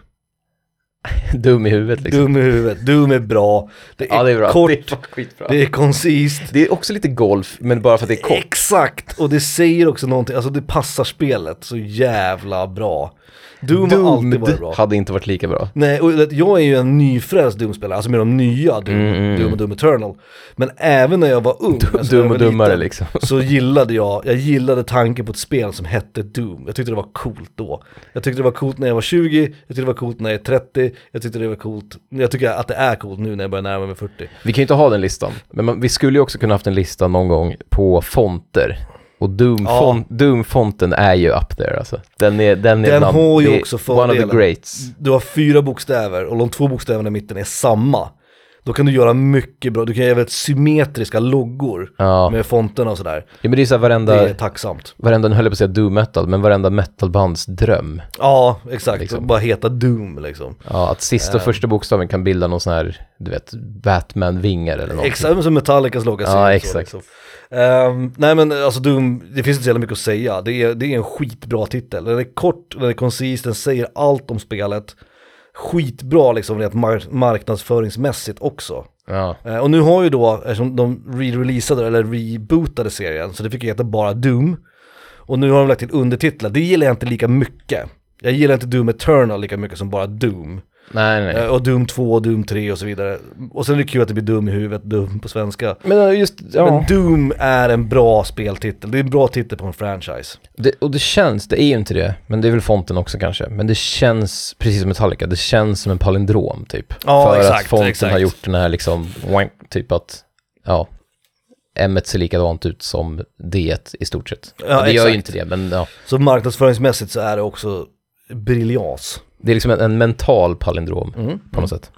B: Dum i huvudet liksom.
A: Doom i huvudet, Doom är bra. Det är,
B: Ja, det är bra.
A: kort,
B: Det är skitbra.
A: det är koncist.
B: Det är också lite golf, men bara för att det är kort.
A: Exakt, och det säger också någonting, alltså det passar spelet så jävla bra. Doom har alltid varit
B: Doomed
A: bra.
B: hade inte varit lika [laughs] bra.
A: Nej, och det- jag är ju en nyfrälst Doom-spelare, alltså med de nya Doom,
B: Mm,
A: Doom och Doom Eternal. Men även när jag var ung, alltså när jag
B: Dum
A: var
B: och dummare
A: liten,
B: liksom.
A: så gillade jag, jag gillade tanken på ett spel som hette Doom. Jag tyckte det var coolt då. Jag tyckte det var coolt när jag var 20, jag tyckte det var coolt när jag är 30, jag tyckte det var coolt, jag tycker att det är coolt nu när jag börjar närma mig 40.
B: [laughs] Vi kan ju inte ha den listan, men man, vi skulle ju också kunna haft en lista någon gång på fonter. Och Doom,
A: Ja.
B: font, Doom fonten är ju up there alltså. Den är, den är
A: Den
B: bland-
A: har ju
B: det är
A: också
B: One of
A: fördelar.
B: the greats.
A: Du har fyra bokstäver och de två bokstäverna i mitten är samma. Då kan du göra mycket bra, du kan göra väldigt symmetriska loggor
B: Ja.
A: med fonterna och sådär.
B: ja, men det är ju såhär
A: Det
B: varenda,
A: är tacksamt.
B: varenda, nu höll jag på att säga doom metal, men varenda metalbands dröm.
A: Ja, exakt.
B: Liksom.
A: Bara heta Doom liksom.
B: Ja, att sista och första bokstaven kan bilda någon sån här, du vet, Batman-vingar eller något.
A: Exakt, som Metallicas logga
B: Ja,
A: ser ut så,
B: exakt.
A: liksom. Ehm, nej men alltså Doom, det finns inte så jävla mycket att säga. Det är, det är en skitbra titel. Den är kort, den är koncis, den säger allt om spelet. Skitbra liksom rent mar- marknadsföringsmässigt också.
B: Ja.
A: Eh, och nu har ju då, eftersom de re-releasade eller rebootade serien, så det fick ju heta bara Doom. Och nu har de lagt till undertitlar, det gillar jag inte lika mycket. Jag gillar inte Doom Eternal lika mycket som bara Doom.
B: Nej, nej.
A: Eh, Och Doom 2, och Doom 3 och så vidare. Och sen är det kul att det blir Doom i huvudet, Doom på svenska.
B: Men eh, just, ja.
A: Men Doom är en bra speltitel, det är en bra titel på en franchise.
B: Det, och det känns, det är ju inte det, men det är väl fonten också kanske. Men det känns, precis som Metallica, det känns som en palindrom typ.
A: Ja,
B: För
A: exakt,
B: att fonten
A: exakt.
B: har gjort den här liksom, wank, typ att, ja, M ser likadant ut som D i stort sett.
A: Ja,
B: Ja, det gör
A: exakt.
B: ju inte det, men ja.
A: Så marknadsföringsmässigt så är det också briljans.
B: Det är liksom en, en mental palindrom
A: Mm.
B: på något sätt.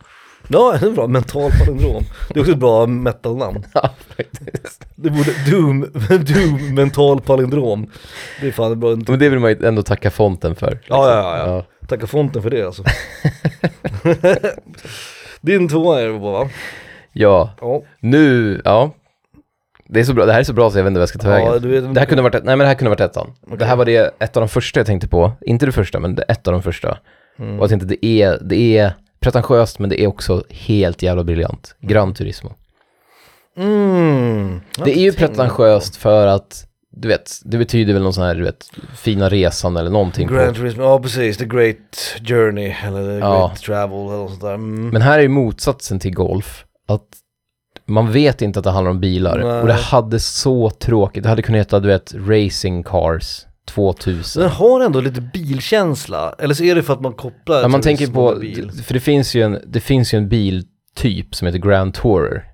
A: Ja, det är bra, mental palindrom. Det är också ett bra metal-namn.
B: [laughs] Ja, faktiskt.
A: Det borde, Doom, [laughs] Doom, mental palindrom. Det är fan bra.
B: men det vill man ju ändå tacka fonten för. liksom.
A: Ja, ja, ja, ja. Tacka fonten för det
B: [laughs]
A: alltså. [laughs] Din tvåa är det på va?
B: Ja,
A: Ja.
B: nu, ja. Det är så bra, det här är så bra så jag vet inte vad jag ska ta vägen.
A: ja du vet,
B: Det här kunde varit, ett- nej men det här kunde varit ettan. Det här var det, ett av de första jag tänkte på. Inte det första, men det ett av de första.
A: Mm.
B: Och jag tänkte, det är, det är pretentiöst, men det är också helt jävla briljant. Gran Turismo.
A: Mm. Jag har
B: det är ju
A: inte tänkt
B: pretentiöst för att, du vet, det betyder väl någon sån här, du vet, fina resan eller någonting.
A: Grand
B: På.
A: Turismo, ja precis, The Great Journey eller The
B: Ja.
A: Great Travel eller något sånt där. Mm.
B: Men här är ju motsatsen till golf, att man vet inte att det handlar om bilar.
A: Nej.
B: Och det hade så tråkigt. Det hade kunnat heta, du vet, Racing Cars
A: Så
B: 2000.
A: den har ändå lite bilkänsla, eller så är det för att man kopplar
B: Ja, man
A: turism
B: tänker på,
A: med bil.
B: för det finns ju en, det finns ju en biltyp som heter Grand Tourer.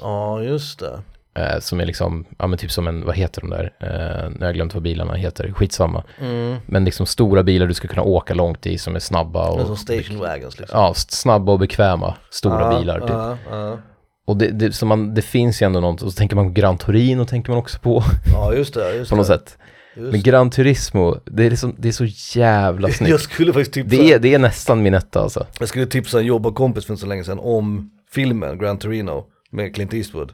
A: Ja, just det.
B: Eh, som är liksom, ja men typ som en, vad heter de där, eh, nu har jag glömt vad bilarna heter, skitsamma.
A: Mm.
B: Men liksom stora bilar du ska kunna åka långt i som är snabba
A: Men
B: och,
A: som station wagons liksom.
B: ja, s- snabba och bekväma stora
A: Ja,
B: bilar. Typ.
A: Ja, ja.
B: Och det, det, så man, det finns ju ändå något, och så tänker man på Gran Torino tänker man också på, [laughs]
A: ja, just det. Just
B: på något
A: det.
B: sätt.
A: Just
B: Men Gran Turismo, det är, liksom, det är
A: [laughs]
B: så jävla
A: det. Jag
B: snyggt.
A: skulle faktiskt tipsa,
B: Det är, det är nästan min etta alltså.
A: jag skulle tipsa en jobbarkompis för inte så länge sedan om filmen Gran Torino med Clint Eastwood.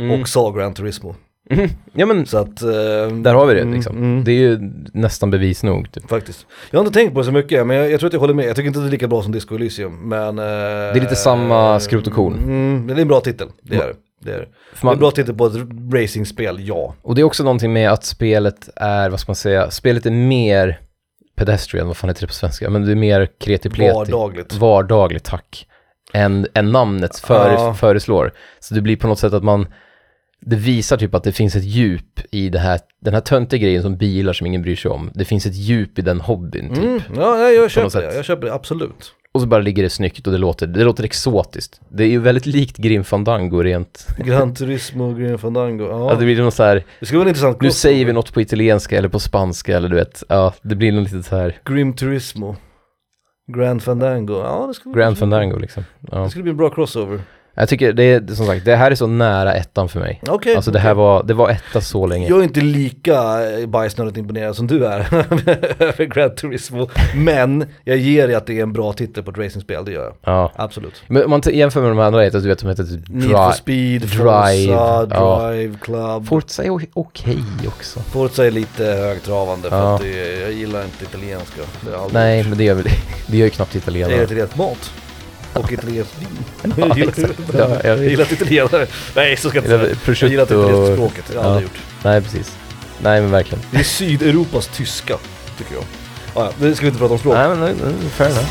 B: Mm.
A: Och sa Gran Turismo.
B: Ja men,
A: Mm. Så att... eh,
B: där har vi det liksom.
A: mm, mm,
B: Det är ju nästan bevis nog. Typ.
A: Faktiskt. Jag har inte tänkt på det så mycket, men jag, jag tror att jag håller med. Jag tycker inte det är lika bra som Disco Elysium, men... det
B: är lite samma skrot och korn.
A: Mm, men det är en bra titel, det är det. Det är, det.
B: För man-
A: det är bra titel på ett racingspel, ja.
B: Och det är också någonting med att spelet är, vad ska man säga, spelet är mer pedestrian, vad fan heter det på svenska, men det är mer kreti pleti.
A: Vardagligt.
B: Vardagligt, tack. Än, än namnet före,
A: Ja.
B: föreslår. Så det blir på något sätt att man, det visar typ att det finns ett djup i det här, den här töntiga grejen som bilar som ingen bryr sig om. Det finns ett djup i den hobbyn typ.
A: Mm, ja, nej, jag
B: något
A: köper
B: sätt.
A: det, jag köper det, absolut.
B: Och så bara ligger det snyggt och det låter, det låter exotiskt. Det är ju väldigt likt Grim Fandango rent.
A: Gran Turismo och Green Fandango.
B: Att
A: Ja.
B: det blir någon så här,
A: Det skulle vara en intressant
B: nu
A: cross-
B: säger vi något på italienska eller på spanska eller du vet. Ja, det blir någon liten så här
A: Grim Turismo. Grand Fandango. Ja, det skulle,
B: Grand Fandango liksom. Ja.
A: det skulle bli en bra crossover.
B: Jag tycker det är, som sagt, det här är så nära ettan för mig.
A: Okej.
B: Alltså det här var, det var etta så länge.
A: Jag är inte lika eh, bajsnödigt imponerad som du är [laughs] över Grand Turismo. Men jag ger dig att det är en bra titel på ett racingspel, det gör jag.
B: Ja.
A: Absolut.
B: Men om man t- jämför med de andra heter, du vet de heter typ
A: Need for
B: Drive.
A: Speed,
B: Drive,
A: Forza,
B: ja.
A: Drive Club.
B: Forza är o- okej också.
A: Forza är lite högtravande för
B: Ja.
A: att det, är- jag gillar inte italienska. Det är aldrig-
B: Nej, men det gör väl det. gör ju knappt
A: Jag gillar
B: italienare.
A: italiensk mat. Och italiensk vin.
B: [laughs] Ja,
A: Jag gillar-
B: exakt. Ja, jag
A: jag
B: vet.
A: gillar inte italienare. Nej, så ska jag inte
B: Gillar
A: säga.
B: prosciutto
A: Jag gillar typ inte italienska
B: och-
A: språket, det har jag aldrig gjort.
B: Nej, precis. Nej, men verkligen.
A: Det är Sydeuropas tyska, tycker jag. Ah, ja, nu ska vi inte prata om språk.
B: Nej, men nej, nej, fair enough.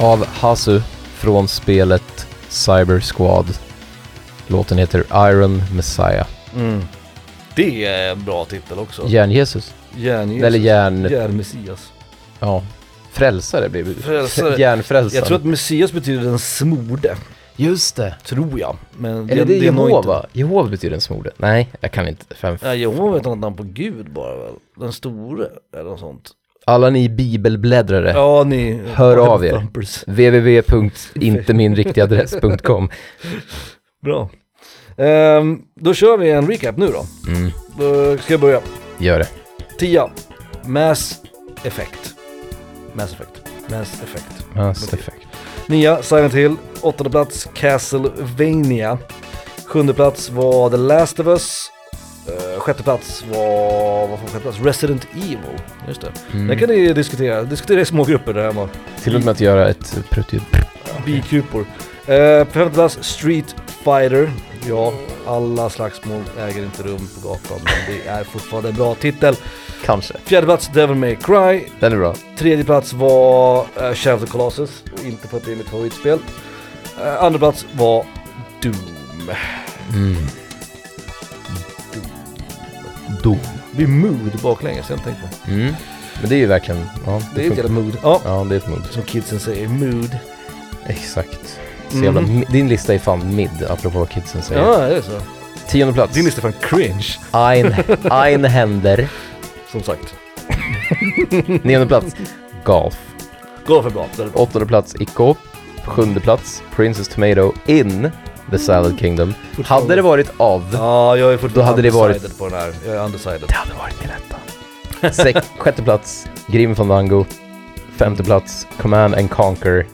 B: Av Hasu från spelet Cyber Squad. Låten heter Iron Messiah.
A: Mm. Det är en bra titel också.
B: Järn-Jesus.
A: Järn-Jesus.
B: Eller järn...
A: Järn-Messias.
B: Ja. Frälsare blir det. [laughs]
A: Frälsare.
B: Järnfrälsare.
A: Jag tror att Messias betyder den smorde,
B: Just det.
A: tror jag. Men
B: Eller det är
A: det nog
B: Jehova. Jehova betyder en smorde. Nej, jag kan inte. Fem.
A: Inte, ja, Jehova är ett annat namn på Gud bara väl? Den store, eller något sånt.
B: Alla ni bibelbläddrare.
A: Ja, ni...
B: Eh. Hör av er.
A: [laughs] Thumpers. [laughs]
B: www.inteminriktigadress.com
A: Bra. Ehm, då kör vi en recap nu då.
B: mm,
A: Då ska jag börja.
B: Gör det.
A: Tia. Mass Effect. Mass Effect. Mass Effect.
B: Mass Effect.
A: Nia, Silent Hill. Åttonde plats, Castlevania. Sjunde plats var The Last of Us. Eh, sjätte plats var, vad får sjätte plats? Resident Evil. Just det.
B: Mm.
A: Det kan ni diskutera. Diskutera i små grupper där hemma.
B: Till och med att göra ett pruttljud.
A: Bikupor. Eh, på femte plats, Street Fighter. Ja, alla slagsmål äger inte rum på gatan, men det är fortfarande en bra titel.
B: Kanske.
A: Fjärde plats, Devil May Cry.
B: Den är bra.
A: Tredje plats var uh, Shadow of the Colossus, och inte för att det är mitt favoritspel. Eh, andra plats var Doom.
B: Mm.
A: Mm.
B: Dom.
A: Det är mood baklänges, jag har inte tänkt på.
B: Mm. Men det är ju verkligen... Ja,
A: Det är ett
B: funkar.
A: jävla mood. Ja,
B: Ja, det är ett mod.
A: som kidsen säger, mood.
B: Exakt. Så
A: Mhm.
B: jävla, mi- Din lista är fan mid, apropå vad kidsen säger.
A: Ja, det är så.
B: Tionde plats.
A: Din lista är fan cringe,
B: Ein,
A: [laughs]
B: ein händer.
A: som sagt.
B: Nionde plats. Golf.
A: Golf är bra, det är bra.
B: Åttonde plats Icko. Sjunde plats Princess Tomato In. The Salad Kingdom. Hade det varit av,
A: Ja, jag är fortfarande
B: Då hade det varit-
A: undecided på den här. Jag är undecided.
B: det hade varit min etta. Sex, sjätte plats, Grim Fandango. Femte plats, Command and Conquer.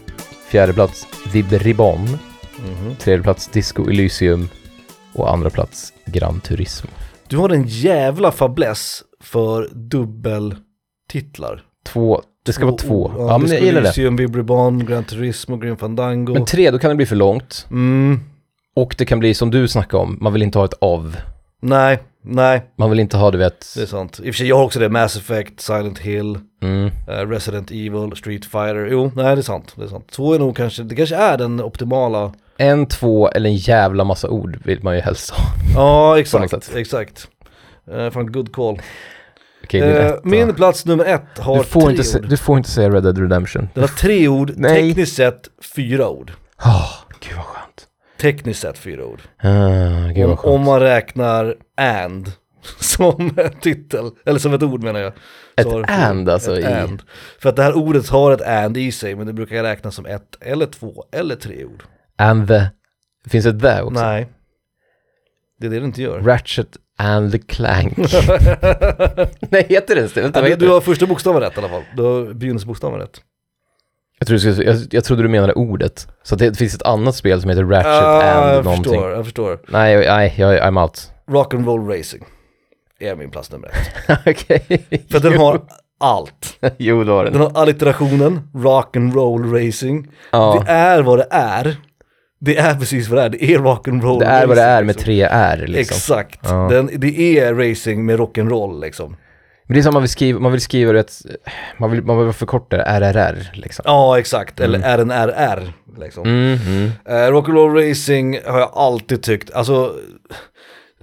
B: Fjärde plats, Vib Ribbon.
A: Mhm.
B: Tredje plats, Disco Elysium. Och andra plats, Gran Turismo.
A: Du har en jävla fabless för dubbeltitlar.
B: Två, det ska vara två.
A: Ja,
B: Ja, men jag gillar det.
A: Elysium, Vibribon, Gran Turismo, Grim Fandango.
B: Men tre, då kan det bli för långt.
A: Mm,
B: Och det kan bli som du snackade om, man vill inte ha ett av.
A: nej, nej,
B: Man vill inte ha, du vet,
A: det är sant. I och för sig, jag har också det. Mass Effect, Silent Hill,
B: mm,
A: eh, Resident Evil, Street Fighter. Jo, nej det är sant. Det är sant. Två är nog kanske, det kanske är den optimala.
B: en, två eller en jävla massa ord vill man ju helst ha. [laughs]
A: Ja,
B: något
A: exakt,
B: sätt.
A: exakt. Eh, fan, good call.
B: Okej, din
A: Eh,
B: etta.
A: min plats nummer ett har
B: du, får
A: tre
B: inte se,
A: ord.
B: du får inte säga Red Dead Redemption.
A: Den har tre ord,
B: [laughs] Nej.
A: tekniskt sett fyra ord.
B: Oh, gud vad skönt.
A: Tekniskt sett fyra ord.
B: Ah, gud
A: Om,
B: vad skönt.
A: om man räknar and [laughs] som en titel, eller som ett ord menar jag. Så har
B: Ett
A: det-
B: and alltså.
A: ett
B: i,
A: and. För att det här ordet har ett and i sig, men det brukar räknas som ett eller två eller tre ord.
B: and the... Finns det the också?
A: Nej, det är det det inte [laughs] gör.
B: Ratchet and the Clank. [laughs] Nej, heter det ens det? Vänta, vad
A: du,
B: heter
A: du
B: det?
A: har första bokstaven rätt i alla fall, du har begynnelsebokstaven rätt.
B: Jag, trodde, du skulle- jag, jag trodde du menade ordet. Så det finns ett annat spel som heter Ratchet and
A: Ah, jag
B: någonting.
A: förstår, jag förstår.
B: Nej, jag- nej, jag, I'm out. [laughs]
A: Rock'n'roll racing är min plats nummer ett.
B: Okej.
A: För
B: [laughs]
A: den har allt.
B: Jo, det har
A: Den
B: den.
A: har allitterationen, rock'n'roll racing.
B: Ja,
A: Det är vad det är. Det är precis vad det är, det är rock'n'roll.
B: det är vad det
A: racing,
B: är med
A: liksom.
B: tre R liksom.
A: Exakt,
B: Ja.
A: Den, det är racing med rock'n'roll liksom.
B: Men det är som man vill skriva, man vill skriva rätt, man vill, man vill förkorta det, RRR liksom.
A: Ja exakt, eller RNRR liksom.
B: Mm, mm.
A: Eh, rock'n'roll racing har jag alltid tyckt, alltså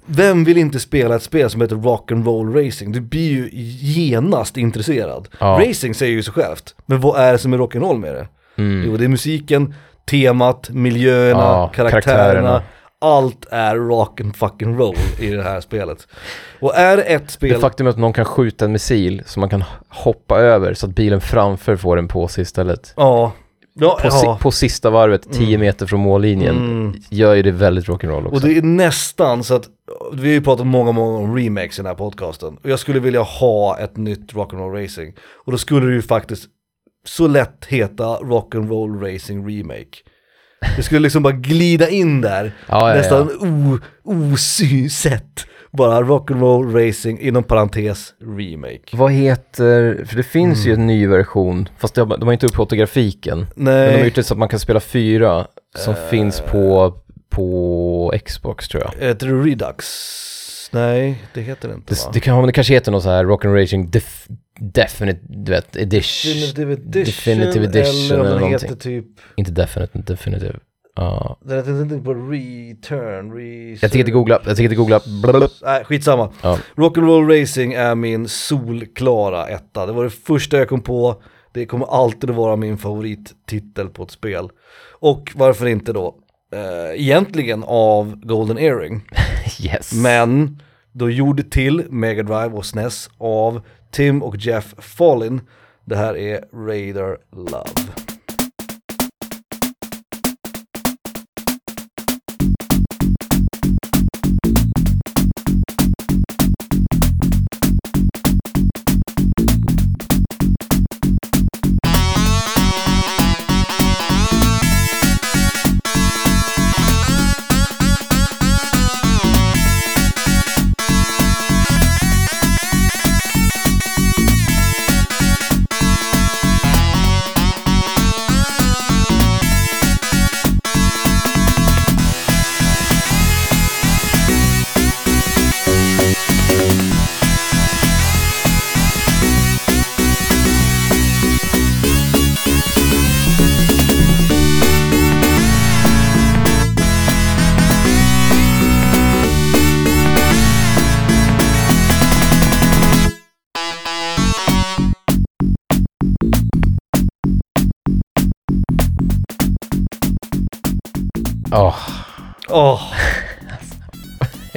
A: vem vill inte spela ett spel som heter rock'n'roll racing? Du blir ju genast intresserad.
B: Ja.
A: Racing säger ju sig självt, men vad är det som är rock'n'roll med det?
B: Mm.
A: Jo, det är musiken, temat, miljöerna,
B: Ja,
A: karaktärerna.
B: karaktärerna.
A: Allt är rock and fucking roll i det här spelet. Och är det ett
B: Det
A: spel...
B: faktum att någon kan skjuta en missil som man kan hoppa över så att bilen framför får den på sig istället.
A: Ja. Ja,
B: På,
A: ja.
B: si, på sista varvet, 10 meter från mållinjen,
A: Mm.
B: gör ju det väldigt rock'n'roll också.
A: Och det är nästan så att, vi har ju pratat många, många om remakes i den här podcasten. Och jag skulle vilja ha ett nytt rock'n'roll racing. Och då skulle det ju faktiskt så lätt heta rock'n'roll racing remake. Det skulle liksom bara glida in där,
B: [laughs] Ja, ja,
A: nästan o- osynsätt. Bara rock'n'roll racing inom parentes remake.
B: Vad heter, för det finns
A: Mm.
B: ju en ny version, fast de, har- de har inte upplåtit grafiken. Men de har
A: Nej, Eh.
B: gjort det så att man kan spela fyra som finns på, på Xbox tror jag.
A: heter det Redux? Nej, det heter det inte
B: Det,
A: va?
B: det, kan, det kanske heter något så här Rock'n'Raging Racing def, Definite, du vet, edition.
A: Definitive Edition,
B: Definitive Edition
A: eller om
B: eller
A: den
B: någonting.
A: heter typ,
B: Inte Definite, Definitive. Ja.
A: den heter inte på Return, Research.
B: jag tänker inte googla, jag tänker inte googla. [laughs] Blablabla.
A: Nej, skitsamma.
B: Ja.
A: Rock'n'roll Racing är min solklara etta. Det var det första jag kom på. Det kommer alltid att vara min favorittitel på ett spel. Och varför inte då? Eh, egentligen av Golden Earring.
B: Yes.
A: Men då gjorde till Mega Drive och SNES av Tim och Jeff Fallin. Det här är Raider Love.
B: Åh,
A: Åh.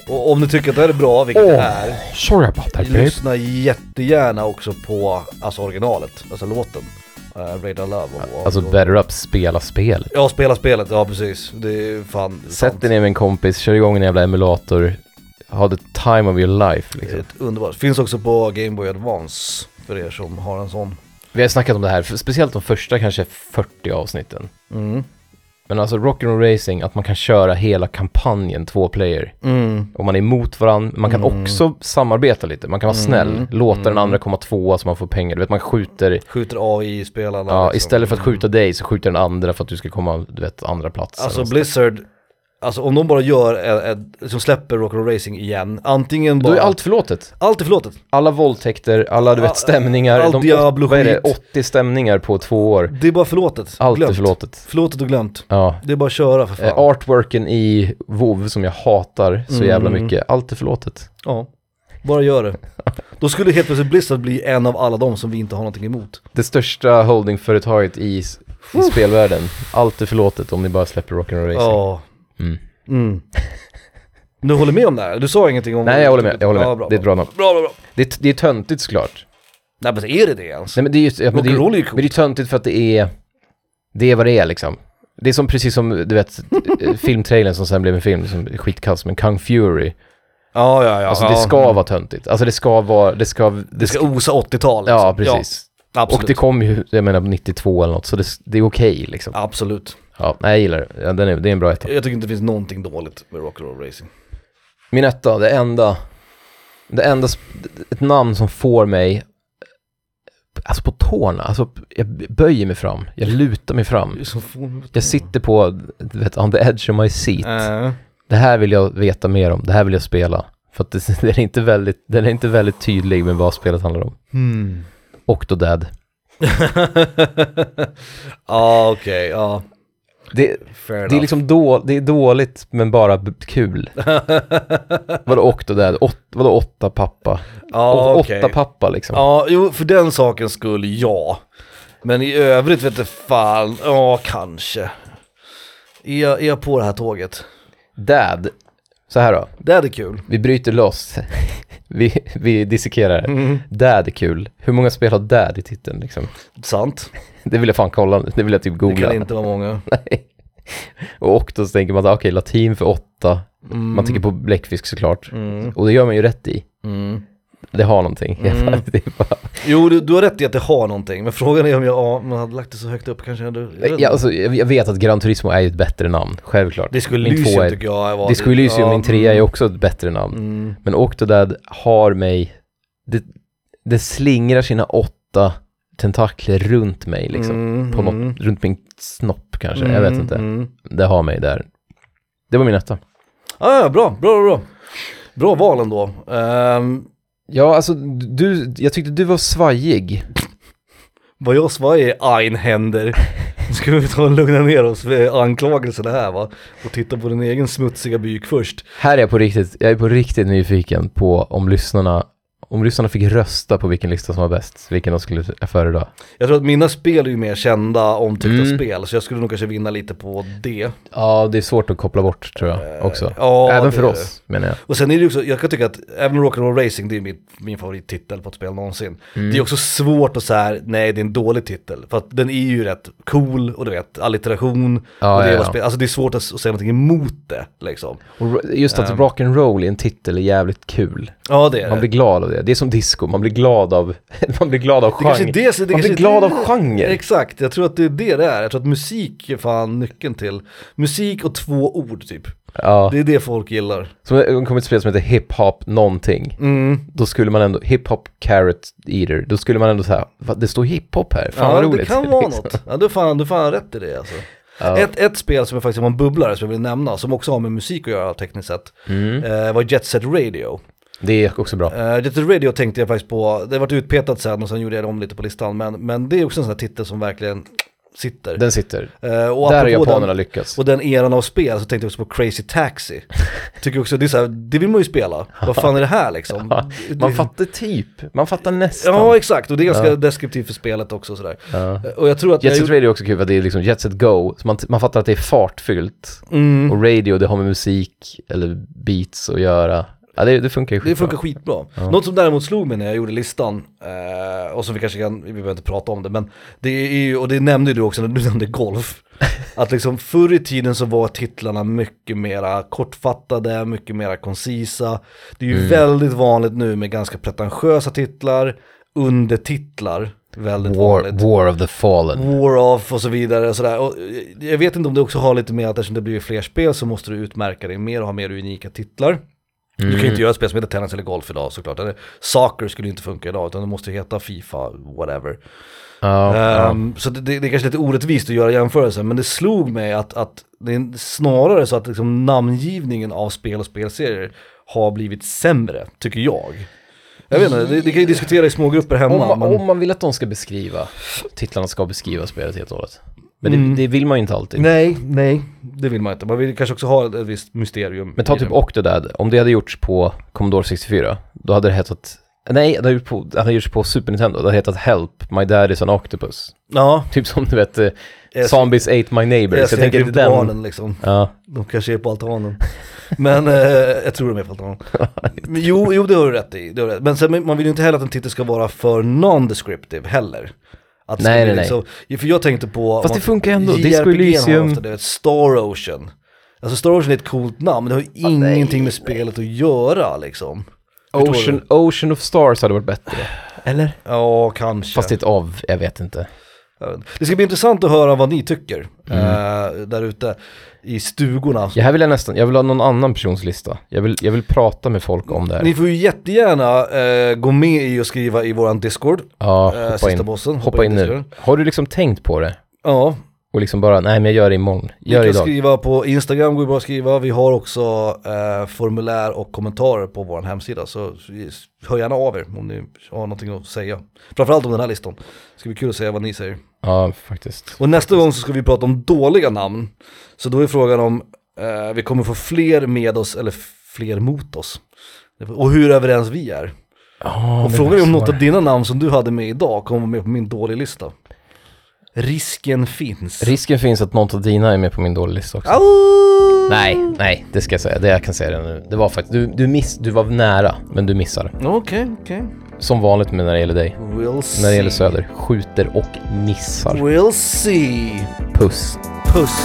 A: Och om ni tycker att det här är bra, vilket det
B: Åh.
A: är,
B: sorry about that babe.
A: lyssna jättegärna också på alltså originalet, alltså låten. eh, Radar Love. Och, och,
B: Alltså better up, spela spel.
A: Ja, spela spelet, ja precis. Det är fan
B: Sätt dig ner med en kompis, kör igång en jävla emulator, ha the time of your life
A: Det är
B: liksom.
A: Ett underbart. Finns också på Game Boy Advance för er som har en sån.
B: Vi har snackat om det här, speciellt de första kanske 40 avsnitten.
A: Mm.
B: Men alltså Rock'n'Roll Racing, att man kan köra hela kampanjen två player.
A: Mm.
B: Och man är emot varandra, man kan också samarbeta lite. Man kan
A: Mm.
B: vara snäll, låta den andra komma tvåa så man får pengar. Du vet, man skjuter,
A: Skjuter AI-spelarna.
B: ja,
A: liksom.
B: istället för att skjuta dig så skjuter den andra för att du ska komma, du vet, andra plats. eller
A: Alltså
B: något
A: Blizzard, alltså om de bara gör, en, en, som släpper Rock'n'Roll Racing igen, antingen
B: sånt.
A: bara...
B: Då är allt förlåtet.
A: allt är förlåtet.
B: Alla våldtäkter, alla du
A: Ja,
B: vet stämningar.
A: allt Diablo-skit.
B: vad är det, 80 stämningar på två år.
A: Det är bara förlåtet.
B: Allt är
A: glömt.
B: förlåtet.
A: Förlåtet och glömt.
B: Ja.
A: Det är bara att köra för fan.
B: Eh, artworken i WoW som jag hatar så jävla
A: Mm.
B: mycket, allt är förlåtet.
A: Ja, bara gör
B: [laughs]
A: det. Då skulle helt plötsligt Blizzard bli en av alla de som vi inte har någonting emot.
B: Det största holdingföretaget i, s- i spelvärlden, allt är förlåtet om ni bara släpper Rock'n'Roll Racing.
A: Ja.
B: Mm.
A: Mm. Du håller med om det här? Du sa ingenting om
B: Nej, jag håller med, jag håller med.
A: Ja, bra,
B: det är ett bra namn.
A: Bra, bra, bra.
B: Det, är t- det är töntigt såklart.
A: Nej men är det det ens?
B: Nej men det är just, ja, men det är,
A: Rock'n'roll är ju
B: men det är töntigt för att det är, det är vad det är liksom. Det är som precis som, du vet, eh, filmtrailern som sen blev en film som är skitkass, men Kung Fury.
A: Ja, ja, ja.
B: Alltså
A: ja.
B: det ska vara töntigt. Alltså det ska vara, det ska, det
A: Det
B: ska,
A: ska osa 80-tal. liksom.
B: ja precis.
A: Ja, absolut.
B: Och det kom ju, jag menar 92 eller något, så det, det är okej liksom.
A: Absolut.
B: Ja, nej, jag gillar det. Ja, den är, det är en bra etta.
A: Jag tycker inte det finns någonting dåligt med rock'n'roll racing.
B: Mm. Min etta, det enda, det enda, sp- ett namn som får mig, alltså på tårna, alltså jag böjer mig fram, jag lutar mig fram. Jag sitter på, du vet, on the edge of my seat.
A: Äh.
B: Det här vill jag veta mer om, det här vill jag spela. För att det, [laughs] den, är inte väldigt, den är inte väldigt tydlig med vad spelet handlar om. Mm.
A: Hmm.
B: Octodad.
A: [laughs] ja, okej, ja.
B: Det,
A: Fair
B: det är
A: enough.
B: liksom då, det är dåligt men bara b- kul. vadå Octodad? Åt, vadå åtta pappa?
A: [laughs] ja,
B: Å-
A: okej.
B: Åtta pappa liksom.
A: Ja, jo, för den sakens skull, ja. Men i övrigt vet du fan, ja, kanske. Är jag, är jag på det här tåget?
B: Dad. Så här då,
A: Det hade kul.
B: vi bryter loss. [laughs] vi, vi dissekerar. Dad är kul. Hur många spel har Dad i titeln liksom?
A: Sant.
B: Det vill jag fan kolla, det vill jag typ
A: Det
B: googla.
A: kan inte vara många.
B: Och Octo så tänker man att okej, latin för åtta.
A: Mm.
B: Man tänker på bläckfisk såklart. Och det gör man ju rätt i. Det har någonting. [laughs] det är bara,
A: Mm. Jo, du, du har rätt i att det har någonting, men frågan är om jag, ja, man hade lagt det så högt upp kanske jag hade... jag vet
B: jag,
A: inte.
B: alltså, jag jag vet att Gran Turismo är ju ett bättre namn, självklart.
A: Disco
B: Min tvåa
A: Elysium
B: är-
A: tycker jag var...
B: Disco Elysium,
A: ja,
B: min trea, är också ett bättre namn.
A: Mm.
B: Men Octodad har mig, det, det slingrar sina åtta tentakler runt mig liksom.
A: Mm,
B: På något,
A: mm.
B: runt min snopp kanske, jag vet
A: Mm,
B: inte.
A: Mm.
B: Det har mig där. Det var min etta.
A: Ah, ja, bra, bra, bra. Bra val ändå. Um,
B: Ja, alltså du, jag tyckte du var svajig.
A: vad jag svajig är Einhänder. Nu ska vi ta och lugna ner oss vid anklagelserna här va. Och titta på din egen smutsiga byk först.
B: Här är jag på riktigt, jag är på riktigt nyfiken på om lyssnarna, om lyssnarna fick rösta på vilken lista som var bäst, vilken de skulle föredra.
A: Jag tror att mina spel är ju mer kända omtyckta
B: Mm.
A: spel, så jag skulle nog kanske vinna lite på det.
B: Ja, det är svårt att koppla bort tror jag också.
A: ja,
B: Även
A: det
B: för
A: är
B: oss, menar jag.
A: Och sen är det ju också, jag kan tycka att även om Rock'n'Roll Racing, det är min, min favorittitel på ett spel någonsin.
B: Mm.
A: Det är också svårt att säga, nej det är en dålig titel. För att den är ju rätt cool och du vet, allitteration.
B: Ja,
A: och det, är
B: ja,
A: vad
B: ja.
A: spel- Alltså det är svårt att, s- att säga någonting emot det liksom.
B: Och ro- just att rock'n'roll i en titel är jävligt kul.
A: Ja det är
B: Man
A: det.
B: blir glad av det. Det är som disco, man blir glad av, [laughs] man blir glad av
A: Det kanske är
B: genre.
A: det, som- det
B: man
A: kanske
B: blir
A: är
B: glad
A: det.
B: av genre.
A: Exakt, jag tror att det är det det är. Jag tror att musik är fan nyckeln till. Musik och två ord typ.
B: Ja.
A: Det är det folk gillar. Mm.
B: Som det kom ett spel som heter Hip Hop någonting. Då skulle man ändå, Hip Hop Carrot Eater, då skulle man ändå säga, "Va, det står hip hop här, fan
A: ja,
B: vad roligt.
A: det kan vara
B: [laughs] Liksom.
A: något. Ja, du har fan, du har fan rätt i det alltså.
B: Ja.
A: Ett, ett spel som jag faktiskt har en bubblare som jag vill nämna, som också har med musik att göra tekniskt sett, eh, var Jet Set Radio.
B: Mm. Det är också bra.
A: Eh, Jet Set Radio tänkte jag faktiskt på, det har varit utpetat sen och sen gjorde jag om lite på listan, men, men det är också en sån här titel som verkligen sitter.
B: Den sitter.
A: Eh, och
B: Där har
A: apropå
B: japanerna
A: den-
B: lyckats.
A: Och den eran av spel så tänkte jag också på Crazy Taxi.
B: [laughs]
A: Tycker också, det är så här, det vill man ju spela. Vad fan är det här liksom?
B: [laughs] Man
A: Det-
B: fattar typ, man fattar nästan.
A: Ja exakt, och det är ganska deskriptivt för spelet också sådär. Eh, Och jag tror att...
B: Jet
A: jag
B: Set
A: gjorde-
B: Radio är också kul för att det är liksom Jet Set Go, så man, man fattar att det är fartfyllt.
A: Mm.
B: Och radio, det har med musik eller beats att göra. Ja, det, det funkar ju
A: Det
B: skitbra.
A: funkar skitbra. Något som däremot slog mig när jag gjorde listan, eh, och som vi kanske kan, vi behöver inte prata om det, men det är ju, och det nämnde ju du också när du [laughs] nämnde golf, att liksom förr i tiden så var titlarna mycket mera kortfattade, mycket mera koncisa. Det är
B: Mm.
A: ju väldigt vanligt nu med ganska pretentiösa titlar, undertitlar, väldigt vanligt.
B: War, War of the Fallen.
A: War off och så vidare och sådär. Och eh, jag vet inte om det också har lite med att eftersom det blir fler spel så måste du utmärka dig mer och ha mer unika titlar. Du kan ju
B: Mm.
A: inte göra ett spel som heter tennis eller golf idag såklart. Eller, soccer skulle ju inte funka idag utan det måste ju heta Fifa, whatever.
B: Ja, ja.
A: Ehm, Så det, det det är kanske lite orättvist att göra jämförelser men det slog mig att, att det är snarare så att liksom namngivningen av spel och spelserier har blivit sämre, tycker jag. Jag vet inte, det, det kan ju diskutera i smågrupper hemma.
B: Om, man,
A: men-
B: om man vill att de ska beskriva, titlarna ska beskriva spelet helt och hållet. Men det, det vill man ju inte alltid.
A: Mm. Nej, nej, det vill man inte. Man vill kanske också ha ett visst mysterium.
B: Men ta
A: i
B: typ
A: det.
B: Octodad, om det hade gjorts på Commodore 64, då hade det hetat... Nej, det hade gjorts på, det hade gjorts på Super Nintendo, det hade hetat Help, My Dad is an Octopus.
A: Ja,
B: Typ som du vet, eh,
A: jag-
B: Zombies Ate My Neighbor.
A: jag
B: Så jag
A: tänker
B: tänker typ
A: inte
B: den...
A: barnen liksom.
B: Ja,
A: De kanske är på altanen. [laughs] Men eh, jag tror de är på
B: [laughs]
A: altanen. Men jo, jo, det har du rätt i. Det har du rätt. Men sen, men man vill ju inte heller att en titel ska vara för non-descriptive heller. Att det ska
B: Nej,
A: bli
B: nej, nej.
A: liksom- För jag tänkte på... om
B: Fast det
A: man-
B: funkar ändå.
A: JRPG
B: Disco
A: har
B: Elysium.
A: ofta Det, vet, Star Ocean. Alltså Star Ocean är ett coolt namn, men det har ju ingenting med spelet att göra liksom. Förstår
B: Ocean, Ocean of Stars hade varit bättre. Eller?
A: du? Ja, kanske.
B: Fast det är ett av, jag vet inte.
A: Jag vet inte. Det ska bli intressant att höra vad ni tycker eh, där ute i stugorna.
B: Mm. Ja, här vill jag nästan, jag vill ha någon annan persons lista. Jag vill, jag vill prata med folk om det här.
A: Ni får ju jättegärna eh, gå med i och skriva i våran Discord. eh,
B: ja, hoppa
A: sista
B: in.
A: bossen, hoppa
B: Hoppa in
A: in i
B: nu.
A: Discord.
B: Har du liksom tänkt på det?
A: Ja,
B: Och liksom bara, nej men jag gör det imorgon.
A: ni
B: Gör
A: kan
B: det idag.
A: skriva på Instagram, går ju bra att skriva. Vi har också eh, formulär och kommentarer på vår hemsida. Så hör gärna av er om ni har någonting att säga. Framförallt om den här listan. Det ska bli kul att se vad ni säger.
B: Ja, faktiskt.
A: Och nästa gång så ska vi prata om dåliga namn. Så då är frågan om eh, vi kommer få fler med oss eller fler mot oss. Och hur överens vi är.
B: Ja,
A: Och
B: det
A: fråga
B: blir
A: är om något
B: svårare.
A: av dina namn som du hade med idag kommer med på min dåliga lista. Risken finns.
B: Risken finns att något av dina är med på min dåliga lista också.
A: Au!
B: Nej, nej, det ska jag säga. Det jag kan säga det nu. Det var faktiskt, du, du, miss, du var nära, men du missar.
A: Okej, okej.
B: Som vanligt med när det gäller dig.
A: We'll see.
B: När det gäller Söder, skjuter och missar.
A: We'll see.
B: Puss.
A: Puss.